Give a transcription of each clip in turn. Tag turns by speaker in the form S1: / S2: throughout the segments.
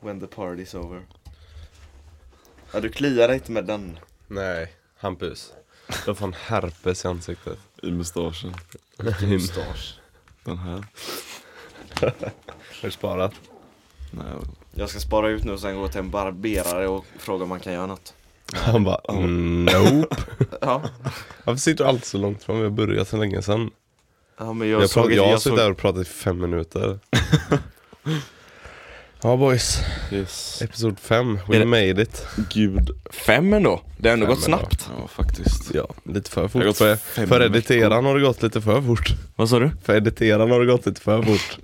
S1: When the party's over. Ja, du kliar dig inte med den.
S2: Nej, Hampus. Du har fan herpes i ansiktet.
S3: I mustaschen.
S2: Mustasch.
S3: Den här.
S2: Har du sparat?
S3: Nej,
S1: Jag ska spara ut nu och sen gå till en barberare och fråga om man kan göra något.
S2: Han bara, mm, nope.
S1: Ja,
S2: Varför sitter du alltid så långt fram? Vi har börjat så länge sedan.
S1: ja men
S2: Jag,
S1: jag,
S2: jag,
S1: såg,
S2: prat,
S1: ett-
S2: jag har
S1: jag, såg,
S2: suttit där och pratat i fem minuter. ja boys,
S3: yes.
S2: episod fem.
S4: Är
S2: We
S4: det-
S2: made it.
S3: Gud.
S4: Fem ändå. Det har ändå
S2: Fem
S4: gått
S2: ändå.
S4: snabbt.
S3: Ja, faktiskt.
S2: Ja, lite för
S3: har
S2: fort.
S3: gått
S2: För,
S3: fem
S2: för editeraren har det gått lite för fort.
S4: Vad sa du?
S2: För editeraren har det gått lite för fort.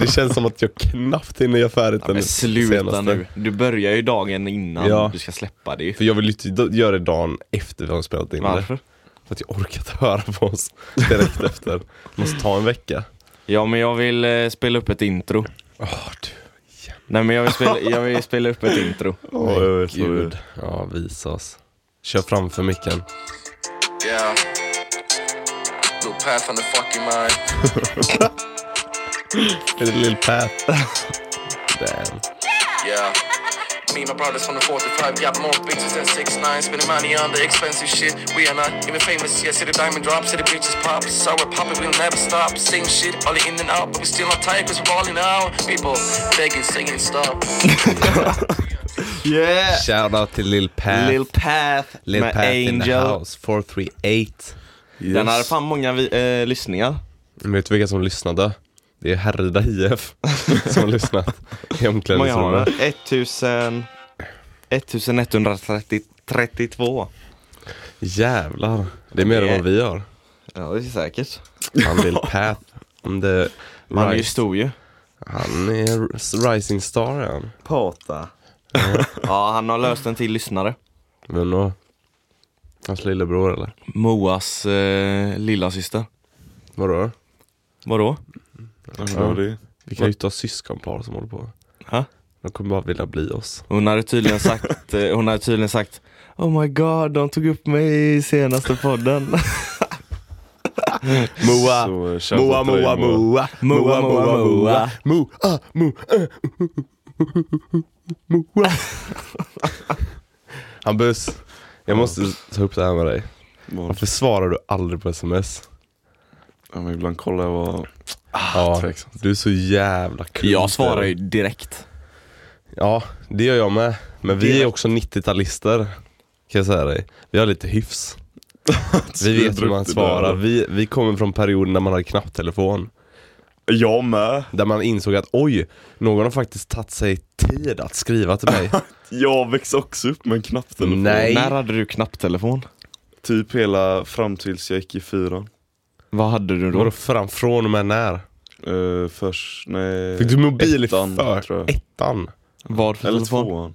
S2: Det känns som att jag knappt hinner göra färdigt
S4: Ja, men
S2: den
S4: sluta
S2: senaste.
S4: nu. Du börjar ju dagen innan
S2: Ja.
S4: du ska släppa det ju.
S2: För jag vill ju inte d- göra det dagen efter vi har spelat in
S4: Varför?
S2: det. För att jag orkat höra på oss direkt efter. Måste ta en vecka.
S4: Ja men jag vill eh, spela upp ett intro.
S2: Åh du.
S4: Nej men jag vill spela, jag vill spela upp ett intro.
S2: Åh
S3: jag vet vad
S2: gud. Ja, visa oss. Kör framför micken.
S5: Yeah. Little path on the fucking mind.
S2: Är det Lill Pat? Damn.
S5: Yeah. Me and my brothers from the 45 got more bitches than 6'9. Spending money on the expensive shit. We are not even famous yet. See the diamond drops, see the bitches pop. Sour poppin', we'll never stop. Same shit, all the in and out. But we still not tired cause we're balling out. People begging, singing, stop.
S4: Yeah!
S2: Shoutout till Lill Pat.
S4: Lil Path
S2: Lil
S4: med
S2: Pat in the
S4: Angel.
S2: house. 438.
S3: Yes.
S4: Den hade fan många vi, eh, lyssningar.
S2: Men vet du vilka som lyssnade? Det är Härryda IF som har lyssnat i
S4: många har
S2: omklädningsrummet.
S4: den? 1000... 1132.
S2: Jävlar. Det är mer än vad vi har.
S4: Ja det är säkert.
S2: Han Lill Pat. Om det...
S4: Man är ju
S2: Rise-
S4: stor ju.
S2: Han är rising star är han.
S1: pata.
S4: Ja han har löst en till lyssnare.
S2: Men då? Hans lillebror eller?
S4: Moas eh, lilla syster.
S2: Vadå?
S4: Vadå?
S3: Ja, det var det.
S2: Vi kan ju inte ha syskonpar som håller på.
S4: Ha?
S2: De kommer bara vilja bli oss.
S4: Hon hade tydligen sagt, eh, hon hade tydligen sagt Oh my god, de tog upp mig i senaste podden.
S2: Moa!
S3: Så, eh, shoutout
S2: Moa,
S3: till dig,
S2: moa, moa.
S4: Moa, moa, moa.
S2: Moa, moa. ah, Moa. Hampus, jag måste ta upp det här med dig.
S3: Vad?
S2: Varför svarar du aldrig på sms?
S3: Ja, men ibland kollar jag vad...
S2: Ja,
S3: tveksamt.
S2: du är så jävla klumpig.
S4: Jag svarar ju direkt.
S2: Ja, det gör jag med. Men vi är också 90-talister. Kan jag säga dig. Vi har lite hyfs. Vi vet hur man svarar. Vi, vi kommer från perioden när man hade knapptelefon.
S3: Jag med.
S2: Där man insåg att oj, någon har faktiskt tagit sig tid att skriva till mig.
S3: Jag växte också upp med en knapptelefon.
S2: Nej.
S4: När hade du knapptelefon?
S3: Typ hela fram tills jag gick i fyran.
S4: Vad hade du
S2: Vadå
S4: då?
S2: fram, från och med när?
S3: Eh, först, nej.
S2: Fick du mobil i för?
S3: tror jag.
S2: Ettan?
S4: Vad för
S3: Eller
S4: telefon?
S3: tvåan.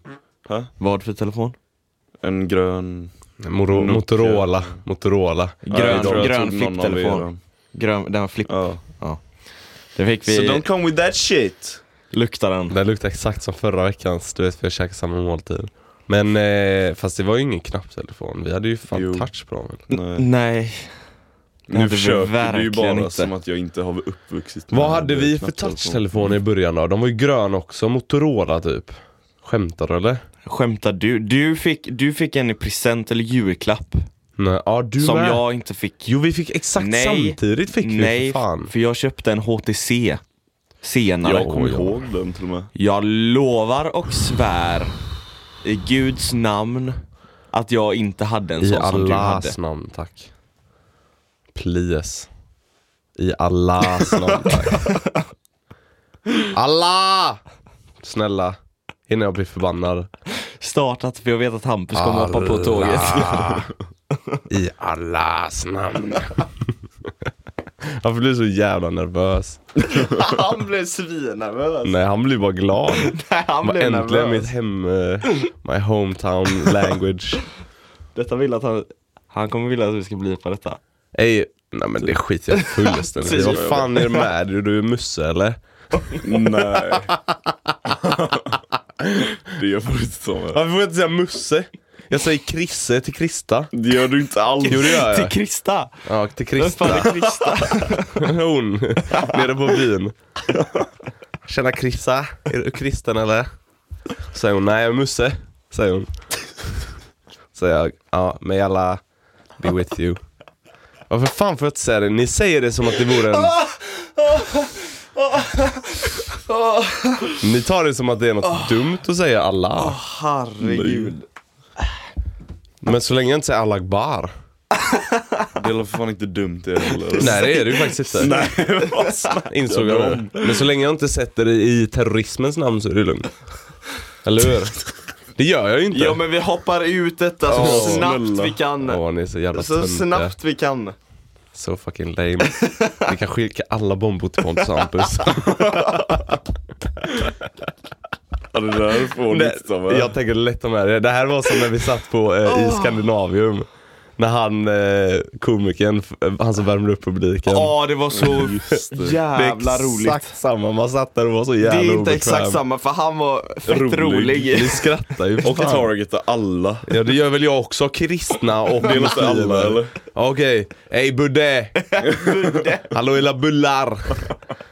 S3: Hä?
S4: Vad för telefon?
S3: En grön.
S2: Moro,
S3: Nokia.
S2: Motorola, Motorola.
S3: Ja, jag
S4: Grön,
S3: tror jag
S4: grön
S3: tog någon av
S4: flipptelefon.
S3: er.
S4: Grön, den flipp.
S3: Ja.
S4: Det fick
S3: So
S4: vi
S3: don't come with that shit.
S4: lukta den.
S2: Den luktar exakt som förra veckans, du vet för jag käkade samma måltid. Men eh, fast det var ju ingen knapptelefon, vi hade ju fan
S3: Jo.
S2: touch på dem.
S3: Nej.
S4: Nej. hade
S3: Nu
S4: vi
S3: försöker du ju bara
S4: verkligen inte.
S2: alltså.
S3: som att jag inte har uppvuxit
S2: Vad
S3: med
S2: hade vi för
S3: knapptelefon.
S2: touchtelefoner i början då? De var ju gröna också, Motorola typ. Skämtar du eller?
S4: Skämtar du? Du fick, du fick en i present eller julklapp.
S2: Nej, ja du
S4: som
S2: med.
S4: jag inte fick.
S2: Jo vi fick exakt
S4: Nej.
S2: samtidigt fick vi
S4: Nej,
S2: för fan.
S4: för jag köpte en HTC senare.
S3: Jag kommer
S2: Oj, oj.
S3: ihåg den till och med.
S4: Jag lovar och svär i guds namn att jag inte hade en
S2: I
S4: sån som du hade.
S2: Allahs namn tack. Please. I Allahs namn tack. Allah! Snälla. Innan jag blir förbannad.
S4: Startat för jag vet att Hampus kommer hoppa på tåget.
S2: Allah. I Allahs namn. Varför blir du så jävla nervös?
S1: Han blev svinnervös.
S2: Nej, han blir bara glad.
S1: Han
S2: Bara,
S1: blev
S2: äntligen
S1: nervös.
S2: mitt hem, eh, my hometown language.
S4: Detta vill att han... Han kommer vilja att vi ska bli på detta.
S2: Ey, nej men det skiter jag fullständigt i. Vad fan är det med dig? Du är musse eller?
S3: Nej. det gör man inte så med.
S2: Varför får jag inte säga Musse? Jag säger Krisse till Krista.
S3: Det gör du inte alls.
S2: Jo det gör
S4: Till
S2: jag.
S4: Krista!
S2: Ja, till
S4: Vem fan
S2: Krista.
S4: är Krista?
S2: Hon. Nere på byn. Tjena Krissa. Är du kristen eller? Säger hon, nej jag är Musse. Säger hon. Säger jag, ja may Allah be with you. Varför fan får jag inte säga det? Ni säger det som att det vore en... Ni tar det som att det är något dumt att säga Allah.
S1: Herregud.
S2: Men så länge jag inte säger Allah Akbar.
S3: Det är väl för fan inte dumt det heller.
S2: Nej det är det ju faktiskt inte.
S3: Nej, vad snackar
S2: Insåg
S3: du
S2: jag
S3: om?
S2: nu. Men så länge jag inte sätter det i terrorismens namn så är det lugnt. Eller hur? Det gör jag ju inte.
S4: Ja men vi hoppar ut detta så
S2: Åh,
S4: snabbt
S3: snälla.
S4: vi kan.
S2: Åh, ni är så jävla
S4: så
S2: töntiga.
S4: snabbt vi kan.
S2: Så fucking lame. Vi kan skicka alla bombor till Pontus och Hampus.
S3: Ja, det där får ni inte ta med.
S2: jag tänker lätt om det här. Det här var som när vi satt på, eh, i Skandinavium. När han, eh, komikern, f- eh, han som värmde upp publiken.
S4: Ja det var så
S2: det är
S4: jävla
S2: exakt
S4: roligt.
S2: samma, man satt där och var så
S4: Det
S2: jävla
S4: är inte
S2: obekväm.
S4: exakt samma för han var fett
S3: Rolig.
S4: rolig.
S2: Ni skrattar ju för
S3: Och
S2: fan.
S3: targeta alla.
S2: Ja det gör väl jag också, kristna och
S3: Det är inte alla eller?
S2: Okej, hej Budde! Hallå hela bullar!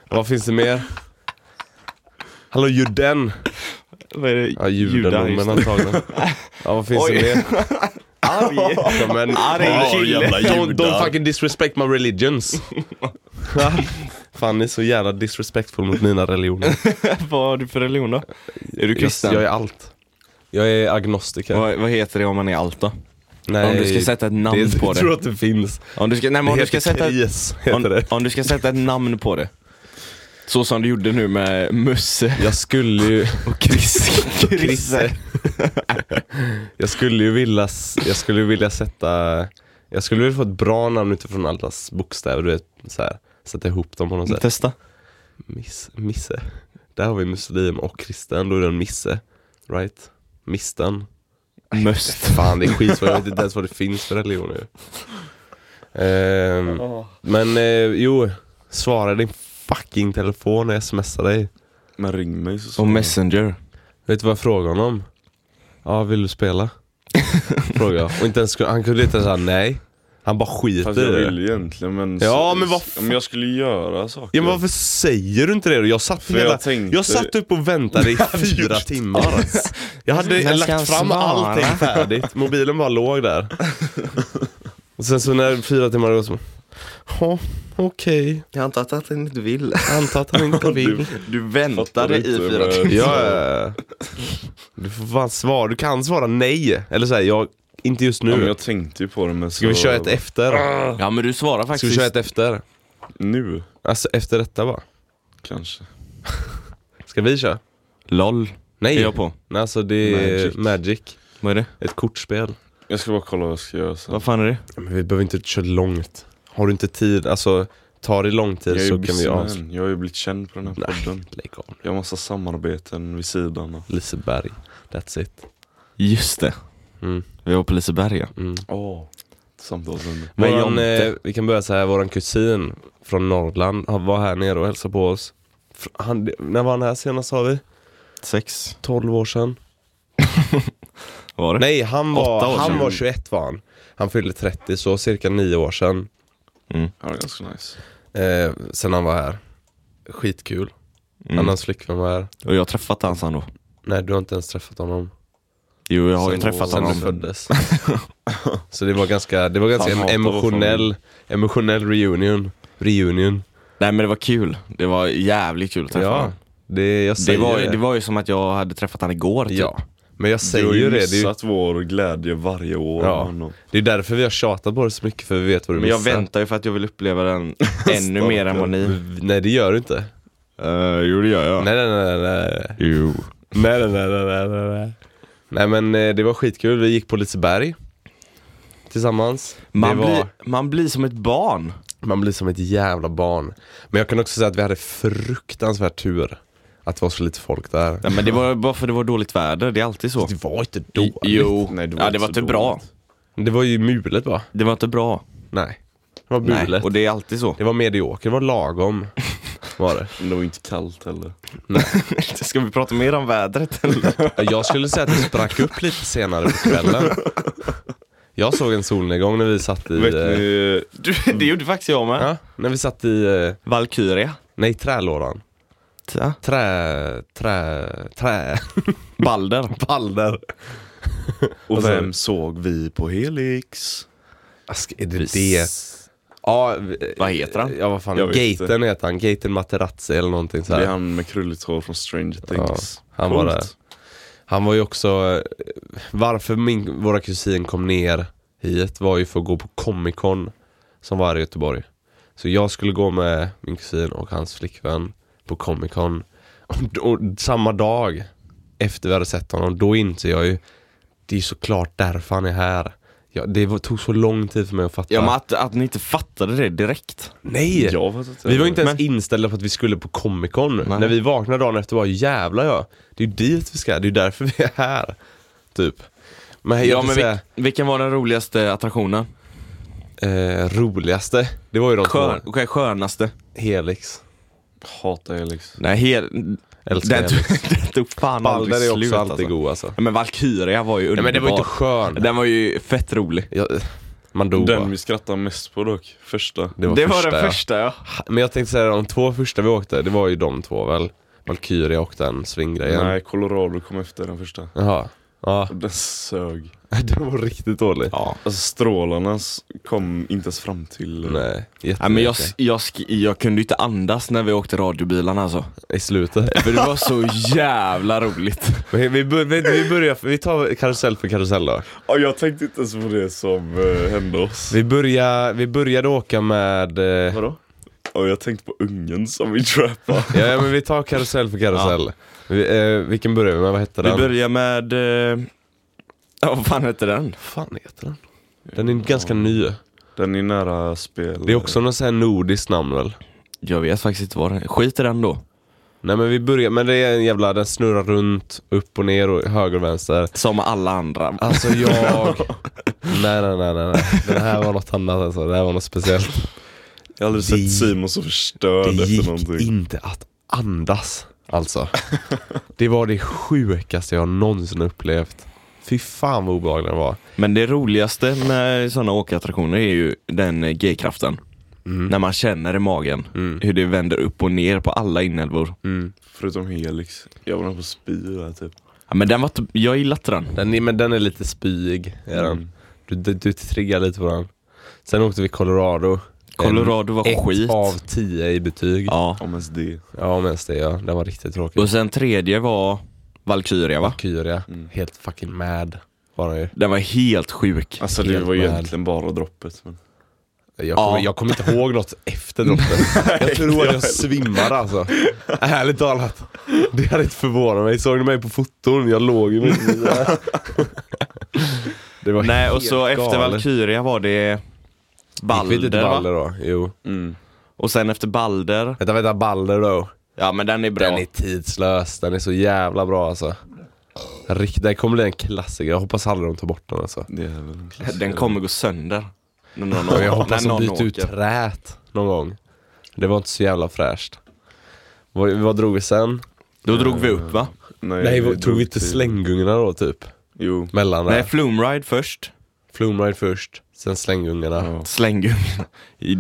S2: Vad finns det mer? Hallå juden!
S4: Vad är det?
S2: Ja
S4: Judar,
S2: alltså.
S4: just
S2: judendomen antagligen. Ja vad finns
S4: Oj.
S2: det mer?
S4: Arg.
S2: Ja, men,
S4: Arg kille.
S3: jävla
S2: don't, don't
S3: judar.
S2: fucking disrespect my religions! Fan ni är så jävla disrespectful mot mina religioner.
S4: Vad har du för religion då? Är du kristen?
S2: Jag, jag är allt. Jag är agnostiker.
S4: Vad, vad heter det om man är allt då?
S2: Nej,
S4: Om du ska sätta ett namn
S2: det,
S4: på
S2: Jag
S4: det.
S2: tror att det finns.
S4: Om du ska, nej, men om
S2: det
S4: du ska
S2: heter
S4: sätta ett,
S2: kris, heter
S4: om,
S2: det.
S4: om du ska sätta ett namn på det. Så som du gjorde nu med Musse
S2: Jag skulle ju...
S4: och Chris. Chrisse.
S2: Jag skulle ju vilja, s- jag skulle ju vilja sätta, jag skulle vilja få ett bra namn utifrån allas bokstäver, du vet så här. Sätta ihop dem på något sätt.
S4: Testa.
S2: Miss, misse. Där har vi muslim och kristen, då är det en misse. Right? Misten.
S4: Möst.
S2: Fan det är skitsvårt, jag vet inte ens vad det finns för religioner. Ehm, men eh, jo, svara din fucking telefon när jag smsar dig.
S3: Men ring mig så
S4: Och Messenger.
S2: Vet du vad jag frågade honom? Ja, vill du spela? Frågade jag. Och inte ens, han kunde inte ens säga nej. Han bara
S3: Fast
S2: skiter
S3: jag
S2: i
S3: vill
S2: det.
S3: ju egentligen men...
S2: Ja, men vad fan?
S3: Men jag skulle ju göra saker.
S2: Ja, men varför säger du inte det då? Jag satt,
S3: jag
S2: hela, jag
S3: tänkte-
S2: satt upp och väntade i fyra timmar. Jag hade
S4: Men ska
S2: lagt fram
S4: han svara?
S2: allting färdigt. Mobilen bara låg där. Och sen så när fyra timmar hade gått så Ja, okej.
S4: Jag antar att han inte vill.
S2: Jag Antar att han inte vill.
S4: Du
S3: Fattar
S4: väntade
S3: du
S4: i
S3: inte,
S4: fyra
S3: men-
S4: timmar.
S2: Ja, ja, ja. Du får fan svara. Du kan svara nej. Eller säga jag, inte just nu.
S3: Ja, men jag tänkte ju på det men så...
S2: Ska vi köra ett efter?
S4: Ja men du svarar
S2: Ska vi
S4: faktiskt.
S2: köra ett efter?
S3: Nu,
S2: Alltså efter detta bara.
S3: kanske.
S2: Ska vi köra?
S4: LOL.
S2: Nej.
S4: Är jag på?
S2: Nej alltså det är Magic.
S3: Magic.
S4: Vad är det?
S2: Ett kortspel.
S3: Jag ska bara kolla vad jag ska göra sen.
S4: Vad fan är det?
S2: Men vi behöver inte köra långt. Har du inte tid, alltså tar det lång tid
S3: Jag är
S2: så
S3: ju
S2: kan vi avsluta.
S3: businessman. Jag har ju blivit känd på den här podden.
S2: Lägg av.
S3: Jag har massa samarbeten vid sidan av.
S2: Liseberg. That's it.
S4: Just det.
S2: Mm.
S4: Vi var på Liseberg ja.
S3: Åh. Samtalsämne.
S2: Men
S4: Våran-
S2: John, eh, vi kan börja så här, våran kusin från Norrland han var här nere och hälsade på oss. Fr- Han, när var han här senast sa vi?
S4: Sex.
S2: 12 år sedan?
S4: Var det?
S2: Nej, han var,
S4: Åtta år
S2: han
S4: sedan.
S2: var 21 var han. Han fyllde 30, så cirka 9 år sedan.
S3: Ja, det är ganska nice.
S2: Eh, sen han var här. Skitkul.
S4: Mm.
S2: Hans flickvän var här.
S4: Och jag har träffat hans han då.
S2: Nej, du har inte ens träffat honom.
S4: Jo jag har ju
S2: Sen-
S4: träffat
S2: sen du
S4: honom.
S2: föddes. Så det var ganska, det var ganska
S3: Fan,
S2: en
S3: hatar
S2: emotionell, emotionell reunion. Reunion.
S4: Nej men det var kul. Det var jävligt kul att träffa
S2: Ja,
S4: honom.
S2: det, jag
S4: Det
S2: säger
S4: var, det var ju som att jag hade träffat han igår typ.
S2: Ja, men jag
S3: Du
S2: säger
S3: har ju
S2: ju det. Det är, ju,
S3: missat vår glädje varje år.
S2: Ja.
S3: Arno.
S2: det är därför vi har tjatat på det så mycket, för vi vet vad du
S4: Men jag
S2: missar.
S4: väntar ju för att jag vill uppleva den ännu mer än vad ni.
S2: Nej, det gör du inte.
S4: Uh, jo det gör jag.
S2: Nej, nej, nej, nej. nej.
S4: Jo.
S2: Nej, nej, nej, nej, nej, nej. Nej men eh, det var skitkul, vi gick på Liseberg tillsammans.
S4: Man,
S2: det var...
S4: blir, man blir som ett barn.
S2: Man blir som ett jävla barn. Men jag kan också säga att vi hade fruktansvärt tur att det var så lite folk där.
S4: Nej, men det var bara för det var dåligt väder, det är alltid så.
S2: Det var inte dåligt.
S4: Jo,
S3: Nej, det var
S4: ja, det
S3: inte
S4: var
S3: så
S4: inte bra.
S3: dåligt.
S2: Det var ju mulet va?
S4: Det var inte bra.
S2: Nej. Det var
S4: Nej,
S2: mulet.
S4: och det är alltid så.
S2: Det var mediokert, det var lagom. Var det.
S3: Men det var inte kallt heller.
S4: Ska vi prata mer om vädret eller?
S2: Jag skulle säga att det sprack upp lite senare på kvällen. Jag såg en solnedgång när vi satt i...
S3: Vet
S2: eh,
S3: ni,
S4: Du, det gjorde faktiskt jag med.
S2: Ja, när vi satt i, eh,
S4: Mm. Valkyria.
S2: nej trälådan.
S4: Tia?
S2: Trä, trä, trä,
S4: Balder?
S2: balder.
S3: Och
S2: Alltså-
S3: vem såg vi på Helix?
S2: Ask, är det
S4: Vis-
S2: det? Ja, vi-
S4: Vad heter han?
S2: Ja vad fan,
S3: Jag vet
S2: Gaten heter han, Gaten Materazzi eller någonting
S3: Det är
S2: sådär. Han.
S3: han med krulligt hår från Stranger Things.
S2: han var
S3: Coolt.
S2: där. var ju också, eh, varför min, våra kusin kom ner hit var ju för att gå på Comic Con som var här i Göteborg. Så jag skulle gå med min kusin och hans flickvän på Comic Con. Och, och samma dag efter vi hade sett honom, då inser jag ju, det är ju såklart därför han är här. Ja, det var, tog så lång tid för mig att fatta.
S4: Ja men att, att ni inte fattade det direkt.
S2: Nej!
S3: Jag vet inte.
S2: Vi var inte ens
S4: Men-
S2: inställda på att vi skulle på Comic Con.
S4: Nej.
S2: När vi vaknade dagen efter var jävlar ja, det är ju dit vi ska, det är ju därför vi är här. Typ. Men jag
S4: Ja
S2: vill
S4: men
S2: säga,
S4: vil, vilken var den roligaste attraktionen?
S2: eh, roligaste, det var ju de
S4: Skön,
S2: två.
S4: okej, skönaste?
S2: Helix.
S3: Hatar Helix.
S4: Nej, hel, den,
S2: Älskar
S4: den
S2: Helix.
S4: tog fan aldrig
S2: Balder är också
S4: slut
S2: alltid
S4: alltså.
S2: god alltså.
S4: Ja, Men Valkyria var ju
S2: Nej
S4: underbar.
S2: men det var ju inte skön.
S4: Den var ju fett rolig.
S2: Jag, man dog
S3: Den
S2: va?
S3: vi skrattar mest på dock. Första.
S2: Det var,
S4: det
S2: första,
S4: var den
S2: ja.
S4: första ja.
S2: Men jag tänkte säga de två första vi åkte, det var ju de två väl? Valkyria och den swinggrejen.
S3: Nej, Colorado kom efter den första.
S2: Jaha. Ja,
S3: Och Den sög.
S2: den var riktigt dålig.
S4: ja.
S3: Alltså strålarna s- kom inte ens fram till...
S2: Nej,
S4: Nej, men jag,
S2: jättemycket.
S4: jag, sk- jag kunde inte andas när vi åkte radiobilarna alltså.
S2: I slutet.
S4: För det var så jävla roligt.
S2: Men Vi, bör, vi, vi börjar, vi tar karusell för karusell då.
S3: Ja, jag tänkte inte ens på det som eh, hände oss.
S2: Vi, börjar, vi började åka med, eh,
S3: Vadå? Ja, jag tänkte på ungen som vi trappade.
S2: ja, ja men vi tar karusell för karusell. Vi, eh, vilken börjar vi med, vad hette
S4: Vi
S2: den?
S4: börjar med... eh, Ja, vad fan hette den?
S2: fan heter den? Den är ganska ny.
S3: Den är nära spel.
S2: Det är också något sån här nordiskt namn väl?
S4: Jag vet faktiskt inte vad den Skit i den då.
S2: Nej men vi börjar, men det är en jävla, den snurrar runt, upp och ner och höger och vänster.
S4: Som alla andra.
S2: Alltså jag... nej, nej nej nej nej. Den här var något annat alltså, det här var något speciellt.
S3: Jag har aldrig
S2: Det-
S3: sett Simon så förstörd
S2: Det
S3: efter
S2: gick
S3: någonting.
S2: inte att andas alltså. Det var det sjukaste jag någonsin upplevt. Fy fan vad obehaglig den var.
S4: Men det roligaste med sådana åkattraktioner är ju den eh, g-kraften.
S2: Mm.
S4: När man känner i magen hur det vänder upp och ner på alla inälvor.
S3: Förutom Helix. Jag var nog på spy där typ.
S4: Ja, men den var t- jag gillade inte den.
S2: Den är, men den är lite spyig. Är den.
S3: Mm.
S2: Du, du, du triggar lite på den. Sen åkte vi Colorado.
S4: Colorado var
S2: Ett
S4: skit.
S2: av tio i betyg. Ja,
S4: Ja.
S3: Om ens det.
S2: ja men det ja. Den var riktigt tråkig.
S4: Och sen tredje var Valkyria va?
S2: Kyria, helt fucking mad var den ju.
S4: Den var helt sjuk.
S3: Alltså det
S2: Helt
S3: var ju
S2: mad.
S3: egentligen bara droppet. Men...
S2: Jag kommer,
S4: Ja.
S2: jag kommer inte ihåg något efter droppen. Jag tror att jag svimmar alltså. Ärligt talat. Det hade inte förvånat mig. Såg ni mig på foton? Jag låg ju mitt i det här. Det var
S4: Nej och
S2: helt
S4: så efter
S2: galet.
S4: Valkyria var det
S2: Gick vi till
S4: Balder, va?
S2: Balder då? Jo.
S3: Mm.
S4: Och sen efter Balder,
S2: Vänta, vänta. Balder då.
S4: ja men den är bra.
S2: Den är tidslös. Den är så jävla bra alltså. Rikt, den kommer bli en klassiker. Jag hoppas aldrig de tar bort den alltså.
S3: Det är väl en klassiker.
S4: Den kommer gå sönder. När någon
S2: Och jag
S4: åker-
S2: hoppas
S4: när
S2: de
S4: någon
S2: byter ut
S4: åker.
S2: trät någon gång. Det var inte så jävla fräscht. Vad, vad drog vi sen?
S4: Då drog vi upp va?
S2: Nej,
S3: vi
S2: vad- tog
S3: drog
S2: vi inte
S3: till-
S2: slänggungorna då typ?
S3: Jo.
S2: Mellan
S4: Nej,
S2: där.
S4: Flumride först.
S2: Flumride först, sen slänggungarna.
S3: Ja.
S4: Slänggummin.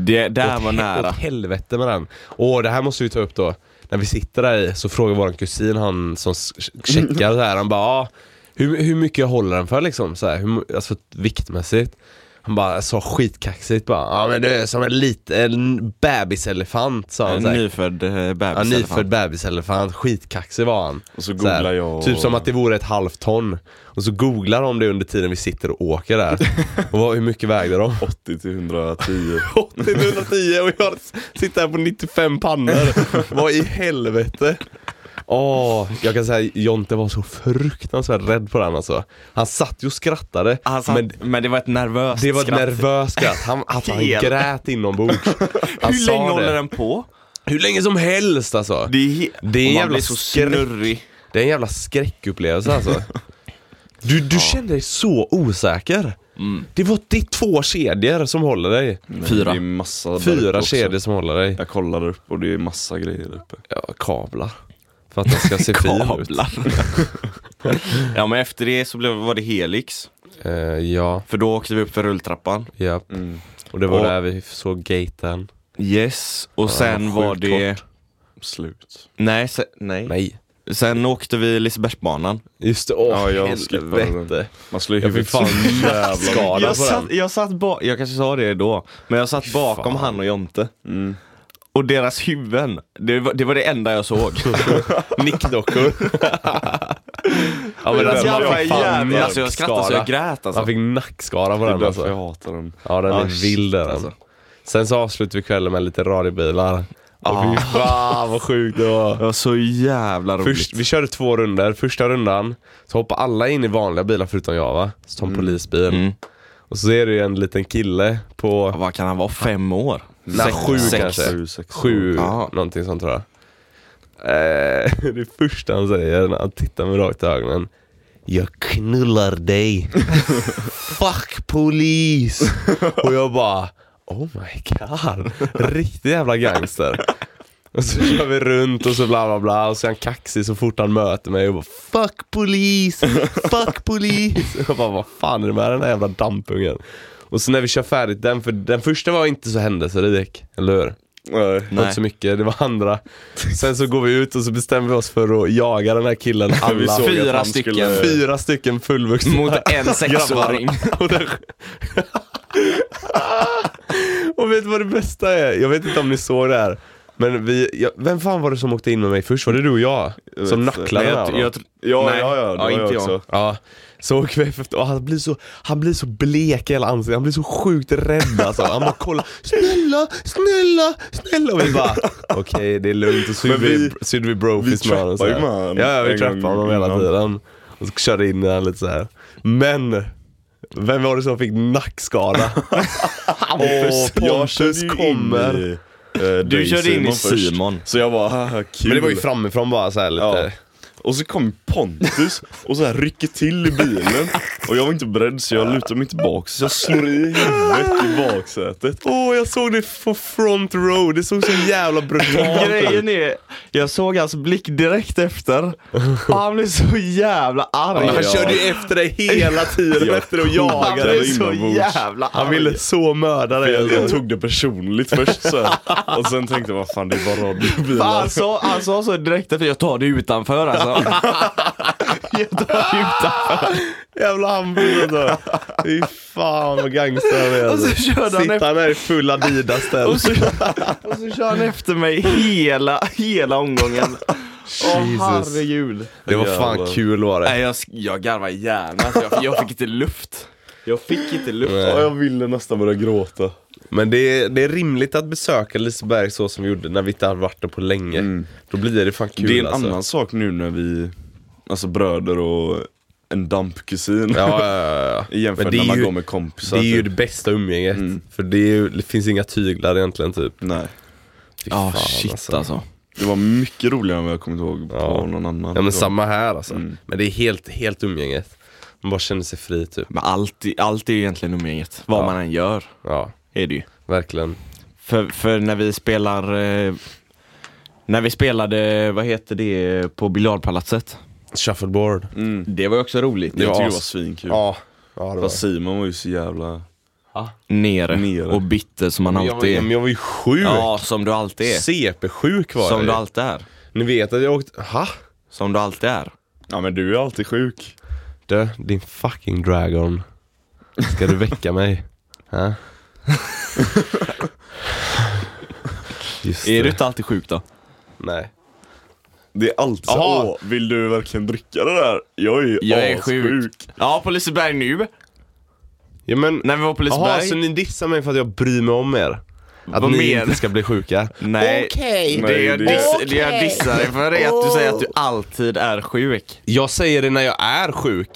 S4: Det där
S2: Åt
S4: var
S2: he-
S4: nära.
S2: Åt helvete med den. Åh, det här måste vi ta upp då. När vi sitter där i så frågar vår kusin, han som s- checkar så här, han bara ah, hur, hur mycket jag håller den för liksom? Så här, hur, mu- alltså viktmässigt. Han bara sa skitkaxigt bara, ja ah, men du är som en liten bebiselefant sa han
S4: En
S2: så här.
S4: nyfödd eh,
S2: Ja,
S4: bebis. i alla fall.
S2: nyfödd bebiselefant, skitkaxig var han.
S3: Och så
S2: Så här,
S3: googlar jag och...
S2: Typ som att det vore ett halvt ton. Och så googlar de det under tiden vi sitter och åker där. och vad, hur mycket vägde de?
S3: 80 till 110.
S2: 80-110 och jag sitter här på 95 pannor. Vad i helvete? Åh, jag kan säga Jonte var så fruktansvärt rädd på den alltså. Han satt ju och skrattade.
S4: Han satt,
S2: men
S4: Alltså, men, det var ett nervöst
S2: det var ett
S4: skratt.
S2: nervöst skratt. Han, alltså, han
S4: Fel.
S2: grät inombords. Han
S4: Hur
S2: sa
S4: länge
S2: det.
S4: håller den på?
S2: Hur länge som helst alltså.
S4: Det är, he-
S2: Det är
S4: och man
S2: jävla
S4: blir så
S2: skräck.
S4: snurrig.
S2: Det är en jävla skräckupplevelse alltså. Du, du kände dig så osäker. Det var det är två kedjor som håller dig.
S4: Fyra.
S3: Det är massa där uppe
S2: Fyra
S3: också.
S2: kedjor som håller dig.
S3: Jag kollade upp och det är massa grejer där uppe.
S2: Ja, kablar. För att den ska se fin ut.
S4: Kablar. ja men efter det så blev, var det Helix.
S2: Eh, ja,
S4: För då åkte vi upp för rulltrappan.
S2: ja. Mm. Och det var
S4: Och-
S2: där vi såg gaten.
S4: Yes. Och sen
S2: var
S4: var
S2: sjukt
S4: det
S3: Slut.
S4: Nej, se, nej.
S2: Nej.
S4: Sen åkte vi Lisebergsbanan.
S2: Just det, åh
S3: Ja, jag skippade den.
S2: helvete.
S3: Man slår ju
S2: Jag fick
S3: huvudet så
S2: fan
S3: jävla
S2: skada
S4: Jag
S2: på den.
S4: satt, jag satt ba- jag kanske sa det då, men jag satt bakom han och Jonte. Och deras huvuden, det var, det var det enda jag såg.
S2: Nickdockor. ja, men alltså, man
S4: jävla
S2: fick fan
S4: jävla, alltså jag skrattade så
S2: nackskada.
S4: jag grät alltså.
S2: Man fick nackskada på
S3: Det är
S2: den
S3: därför jag
S2: alltså.
S3: hatar den.
S2: Ja den
S4: Ah,
S2: är vild den.
S4: alltså.
S2: Sen så avslutar vi kvällen med lite radiobilar. Ah. Fy fan vad sjukt det var.
S4: Det var så jävla roligt.
S2: Först, vi körde två runder. Första rundan så hoppar alla in i vanliga bilar förutom jag va? Så tar en polisbil.
S4: Mm.
S2: Och så är det ju en liten kille på
S4: Vad kan han vara? Fem år?
S2: Nej, sju
S4: sex.
S2: kanske.
S3: Sju, sex,
S2: Sju,
S4: Ja.
S2: någonting sånt tror jag. Eh, det första han säger när han tittar mig rakt i ögonen. Jag knullar dig. Fuck polis. Och jag bara, oh my god. Riktig jävla gangster. Och så kör vi runt och så bla bla bla och så är han kaxig så fort han möter mig och bara Fuck polis! Fuck polis! Och jag bara vad fan är det med den här jävla dampungen? Och så när vi kör färdigt den, för den första var inte så händelserik, eller hur?
S3: Nej.
S2: Det var inte så mycket, det var andra. Sen så går vi ut och så bestämmer vi oss för att jaga den här killen
S3: Vi
S2: alla.
S3: såg
S4: Fyra
S3: att han
S4: stycken.
S3: skulle-
S2: Fyra stycken fullvuxna
S4: Mot en sexåring.
S2: och, den... och vet du vad det bästa är? Jag vet inte om ni såg det här. Men vi, jag, vem fan var det som åkte in med mig först? Var det du och jag?
S3: Jag
S2: som
S3: vet inte.
S2: nacklade
S3: Nej,
S2: den här, va?
S4: jag, tr-
S3: Ja,
S4: Nej.
S3: ja, ja, det
S4: Ja,
S3: var
S4: inte
S3: jag
S4: jag.
S3: också.
S2: Ja, så åker vi efter och han blir så, han blir så blek i hela ansiktet, han blir så sjukt rädd alltså. Han bara kollar, snälla, snälla, snälla och vi bara okej det är lugnt och så gjorde
S3: Men
S2: vi,
S3: vi-
S2: så gjorde vi brofist
S3: vi
S2: med honom så här.
S3: trappade ju med honom
S2: Ja, ja vi
S3: en
S2: trappade
S3: gång
S2: honom hela
S3: innan.
S2: tiden. Och så körde in i honom lite så här. Men, vem var det som fick nackskada? Hampus,
S3: Jag körde ju
S2: Pontus
S3: in
S2: kommer.
S3: i, eh,
S4: Du
S3: dig,
S4: körde in i
S3: först.
S4: Simon.
S3: Så jag bara, haha kul.
S2: Men det var ju framifrån bara så här lite.
S3: Och så kom Pontus och så här rycker till i bilen. Och jag var inte beredd så jag lutar mig tillbaka så jag slår i huvudet i baksätet.
S2: Åh jag såg det på front row, det såg så jävla brutalt ut.
S4: Grejen är, jag såg hans blick direkt efter. Och han blev så jävla arg.
S2: Men han
S3: Ja.
S2: körde ju efter dig hela tiden
S3: Jag
S2: efter att
S4: Han
S2: jaga
S4: blev
S2: dig.
S4: så
S3: inombords.
S4: jävla arg.
S2: Han ville så mörda dig.
S3: Jag, jag
S2: alltså.
S3: tog det personligt först så här. Och sen tänkte jag, vad fan det är bara
S4: Fan,
S3: radiobilar.
S4: han, sa, han sa så direkt efter, jag tar det utanför alltså. jag tar det utanför.
S2: Jävla Hampus alltså. Fy fan vad gangster han är.
S4: Och så körde han
S2: Sitter
S4: efter-
S2: han här i full Adidas där.
S4: Och så, och så kör han efter mig hela, hela omgången. Åh herregud.
S2: Det var fan
S3: Jävlar.
S2: kul var det.
S4: Nej jag, sk- jag garvade gärna, alltså, jag, jag fick inte luft. Jag fick inte luft.
S3: Ja, jag ville nästan börja gråta.
S2: Men det är, det är rimligt att besöka Liseberg så som vi gjorde när vi inte hade varit där på länge.
S4: Mm.
S3: Mm.
S2: Då blir det fan kul
S3: det är en
S2: alltså.
S3: annan sak nu när vi, alltså bröder och en dampkusin.
S2: Ja, ja, ja, ja.
S3: Jämfört
S2: Men det
S3: när
S2: är
S3: man
S2: ju-
S3: går med kompisar.
S2: Det är ju
S3: typ.
S2: det bästa umgänget.
S4: Mm.
S2: För det, är ju, det finns inga tyglar egentligen typ.
S3: Nej.
S2: Fy
S4: Ja
S2: fan,
S4: shit alltså.
S3: Det var mycket roligare än vad jag kommit ihåg på
S2: Ja.
S3: någon annan.
S2: Ja men
S3: gång.
S2: samma här alltså.
S4: Mm.
S2: Men det är helt, helt umgänget. Man bara känner sig fri typ.
S4: Men allt, i- allt är ju egentligen umgänget, vad
S2: Ja.
S4: man än gör.
S2: Ja,
S4: Är det ju.
S2: verkligen.
S4: För, för när vi spelar eh, När vi spelade, vad heter det, på biljardpalatset
S2: Shuffleboard.
S4: Mm. Det var ju också roligt
S3: Jag tyckte det var
S2: as-
S3: svinkul.
S2: Ja. ja, det
S3: Fast
S2: var
S3: Simon var ju så jävla...
S4: Nere,
S3: Nere.
S4: och bitter som man
S2: jag, var-
S4: alltid
S2: men
S4: är
S2: jag var ju sjuk.
S4: Ja, som du alltid är
S2: CP-sjuk var
S4: Som du
S2: jag ju.
S4: alltid är
S2: Ni vet att jag åkte... Ha?
S4: Som du alltid är
S3: Ja men du är alltid sjuk.
S2: Du, din fucking dragon. Ska du väcka mig? Ha? Just
S4: Är
S2: det.
S4: du inte alltid sjuk då?
S2: Nej.
S3: Det är alltid så,
S2: Jaha.
S3: åh, vill du verkligen dricka det där? Jag är ju
S4: Jag är
S3: assjuk.
S4: sjuk Ja, på Liseberg nu
S2: Ja, men...
S4: När vi var på
S2: Jaha,
S4: Liseberg
S2: så ni dissar mig för att jag bryr mig om er? Att
S4: Vad
S2: ni
S4: menar
S2: inte ska bli sjuka?
S4: Nej,
S2: Okej.
S4: det, jag
S3: Nej, det-
S4: diss, det jag dissar dig för är att du säger att du alltid är sjuk
S2: Jag säger det när jag är sjuk.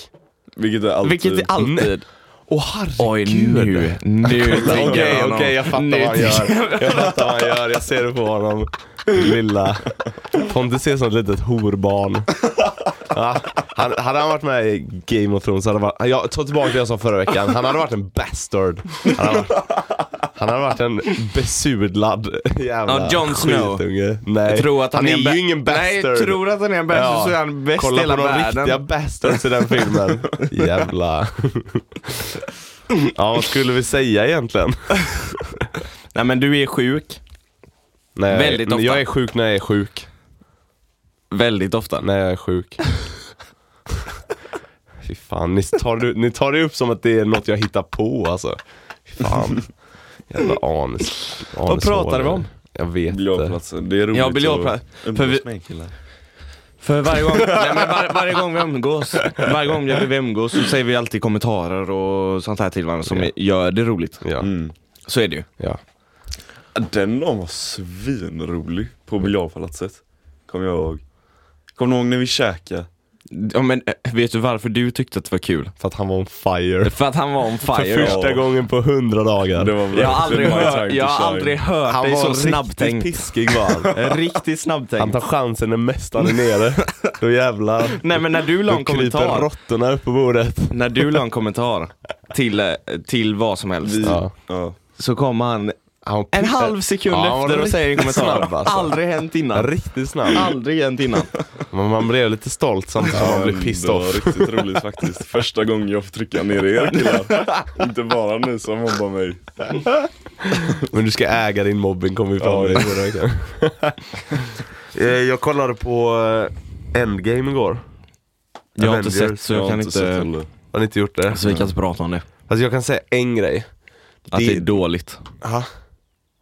S3: Vilket är alltid.
S4: Vilket är alltid
S2: Åh herregud.
S4: Oj, nu, nu tänker jag
S2: Okej,
S4: honom.
S2: okej, jag fattar
S4: Nu
S2: vad han gör. Jag fattar vad han gör, jag ser det på honom. Lilla. Pontus är som ett litet horbarn. Ja, han, hade han varit med i Game of Thrones, hade han varit, jag tar tillbaka det jag sa förra veckan, han hade varit en bastard. Han hade varit, han hade varit en besudlad jävla
S4: Ja, Jon Snow.
S2: skitunge. Nej,
S4: Jag tror att han,
S2: är,
S4: ba-
S2: ju ingen bastard.
S4: Nej, jag tror att han är en bastard så är han bäst i
S2: Kolla
S4: hela
S2: på de
S4: världen.
S2: riktiga bastards i den filmen. Jävla... ja, vad skulle vi säga egentligen?
S4: Nej men du är sjuk.
S2: Nej,
S4: Väldigt
S2: men
S4: ofta.
S2: Jag är sjuk när jag är sjuk.
S4: Väldigt ofta.
S2: När jag är sjuk. Fy fan, ni tar, det- ni tar det upp som att det är något jag hittar på alltså. Fy fan. Jävla anis. Vad
S4: pratar vi om?
S2: Jag vet inte.
S3: Biljardplatsen, det är roligt
S4: Ja, biljardpla-
S3: att
S4: för vi-
S3: umgås med killar.
S4: För varje gång, nej, men var, varje gång vi umgås, varje gång vi umgås så säger vi alltid kommentarer och sånt här till varandra som
S2: Ja.
S4: gör det roligt.
S2: Ja,
S3: Mm.
S4: Så är det ju.
S2: ja.
S3: Den dagen var svinrolig på biljardpalatset. Kommer jag ihåg. Kommer du ihåg när vi käkade?
S4: Ja, men eh, vet du varför du tyckte att det var kul?
S2: För att han var on fire.
S4: För att han var on
S2: För
S4: fire.
S2: första gången på hundra dagar.
S3: Det var
S4: Jag har
S3: verkligen
S4: aldrig
S3: my time
S4: hört,
S3: to
S4: jag har
S3: shine.
S4: aldrig hört dig så snabbtänkt.
S2: piskig var han.
S4: Riktigt
S2: Han
S4: snabbtänkt.
S2: tar chansen när mästaren är nere. Då jävlar.
S4: Nej men när du la en
S2: Då kryper
S4: kommentar,
S2: råttorna upp på bordet.
S4: när du la en kommentar till, eh, till vad som helst,
S2: Ja.
S3: Ja.
S4: så kom han
S2: Han-
S4: en halv sekund
S2: Ja, han var
S4: efter och säger en
S2: riktigt
S4: kommentar.
S2: snabb, alltså.
S4: Aldrig hänt innan.
S2: Riktigt snabb.
S4: Aldrig hänt innan.
S2: Men man blev lite stolt samtidigt som man blev pissed
S3: det var
S2: off.
S3: riktigt roligt faktiskt. Första gången jag får trycka ner er killar. Inte bara ni som mobbar mig.
S2: Men du ska äga din mobbing kommer vi fram till. Eh, jag kollade på eh, Endgame igår.
S4: Jag har inte
S2: Avengers.
S4: sett så jag kan inte,
S3: heller.
S2: Har ni inte gjort det?
S4: så vi kan inte prata om det.
S2: Alltså jag kan säga en grej.
S4: Att det är dåligt.
S2: Aha.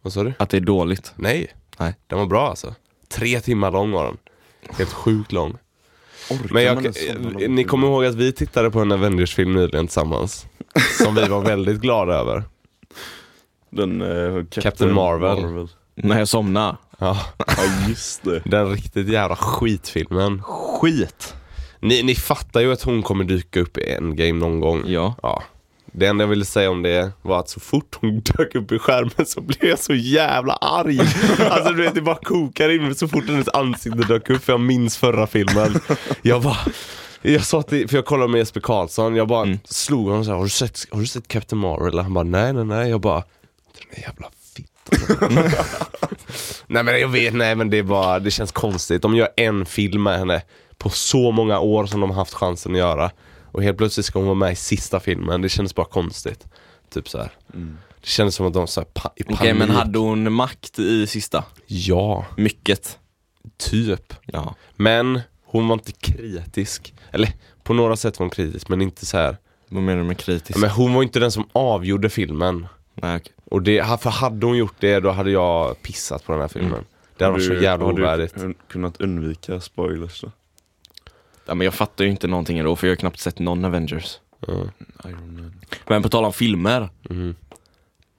S2: Vad sa du?
S4: Att det är dåligt.
S2: Nej.
S4: Nej.
S2: Den var bra alltså. Tre timmar lång var den. Helt sjukt lång.
S4: Liksom.
S3: Orkar
S2: Men
S3: man
S2: jag,
S3: ens somna
S2: eh,
S3: långt
S2: ni
S3: innan?
S2: kommer ihåg att vi tittade på en Avengers-film nyligen tillsammans. Som vi var väldigt glada över.
S3: Den eh, Captain,
S2: Captain Marvel.
S4: När jag somnar.
S2: Ja.
S3: Ja just det.
S2: Den riktigt jävla skitfilmen. Skit! Ni, ni fattar ju att hon kommer dyka upp i Endgame någon gång.
S4: Ja.
S2: ja. Det enda jag ville säga om det var att så fort hon dök upp i skärmen så blev jag så jävla arg. Alltså du vet, det bara kokar in mig så fort hennes ansikte dök upp. För jag minns förra filmen. Jag bara... Jag sa till, för jag kollade med Jesper Karlsson, jag bara slog honom såhär, har du, sett, har du sett Captain Marvel? Han bara, nej nej nej. Jag bara, den där jävla fittan. nej men jag vet, nej men det är bara, det känns konstigt. De gör en film med henne på så många år som de har haft chansen att göra. Och helt plötsligt ska hon vara med i sista filmen, det kändes bara konstigt. Typ så här. Det kändes som att de så här, pa- i panik.
S4: Okej men hade hon makt i sista?
S2: Ja,
S4: Mycket.
S2: typ.
S4: Ja.
S2: Men hon var inte kritisk. Eller på några sätt var hon kritisk, men inte så här.
S4: Vad menar du med kritisk?
S2: Men hon var inte den som avgjorde filmen.
S4: Nej, okej.
S2: Och det, för hade hon gjort det, då hade jag pissat på den här filmen. Det hade varit så
S3: Du-
S2: jävla
S3: har du Mm.
S2: ovärdigt.
S3: kun- kunnat undvika spoilers då?
S4: Ja, men jag fattar ju inte någonting ändå för jag har knappt sett någon Avengers.
S2: Mm.
S3: Iron Man.
S4: Men på tal om filmer.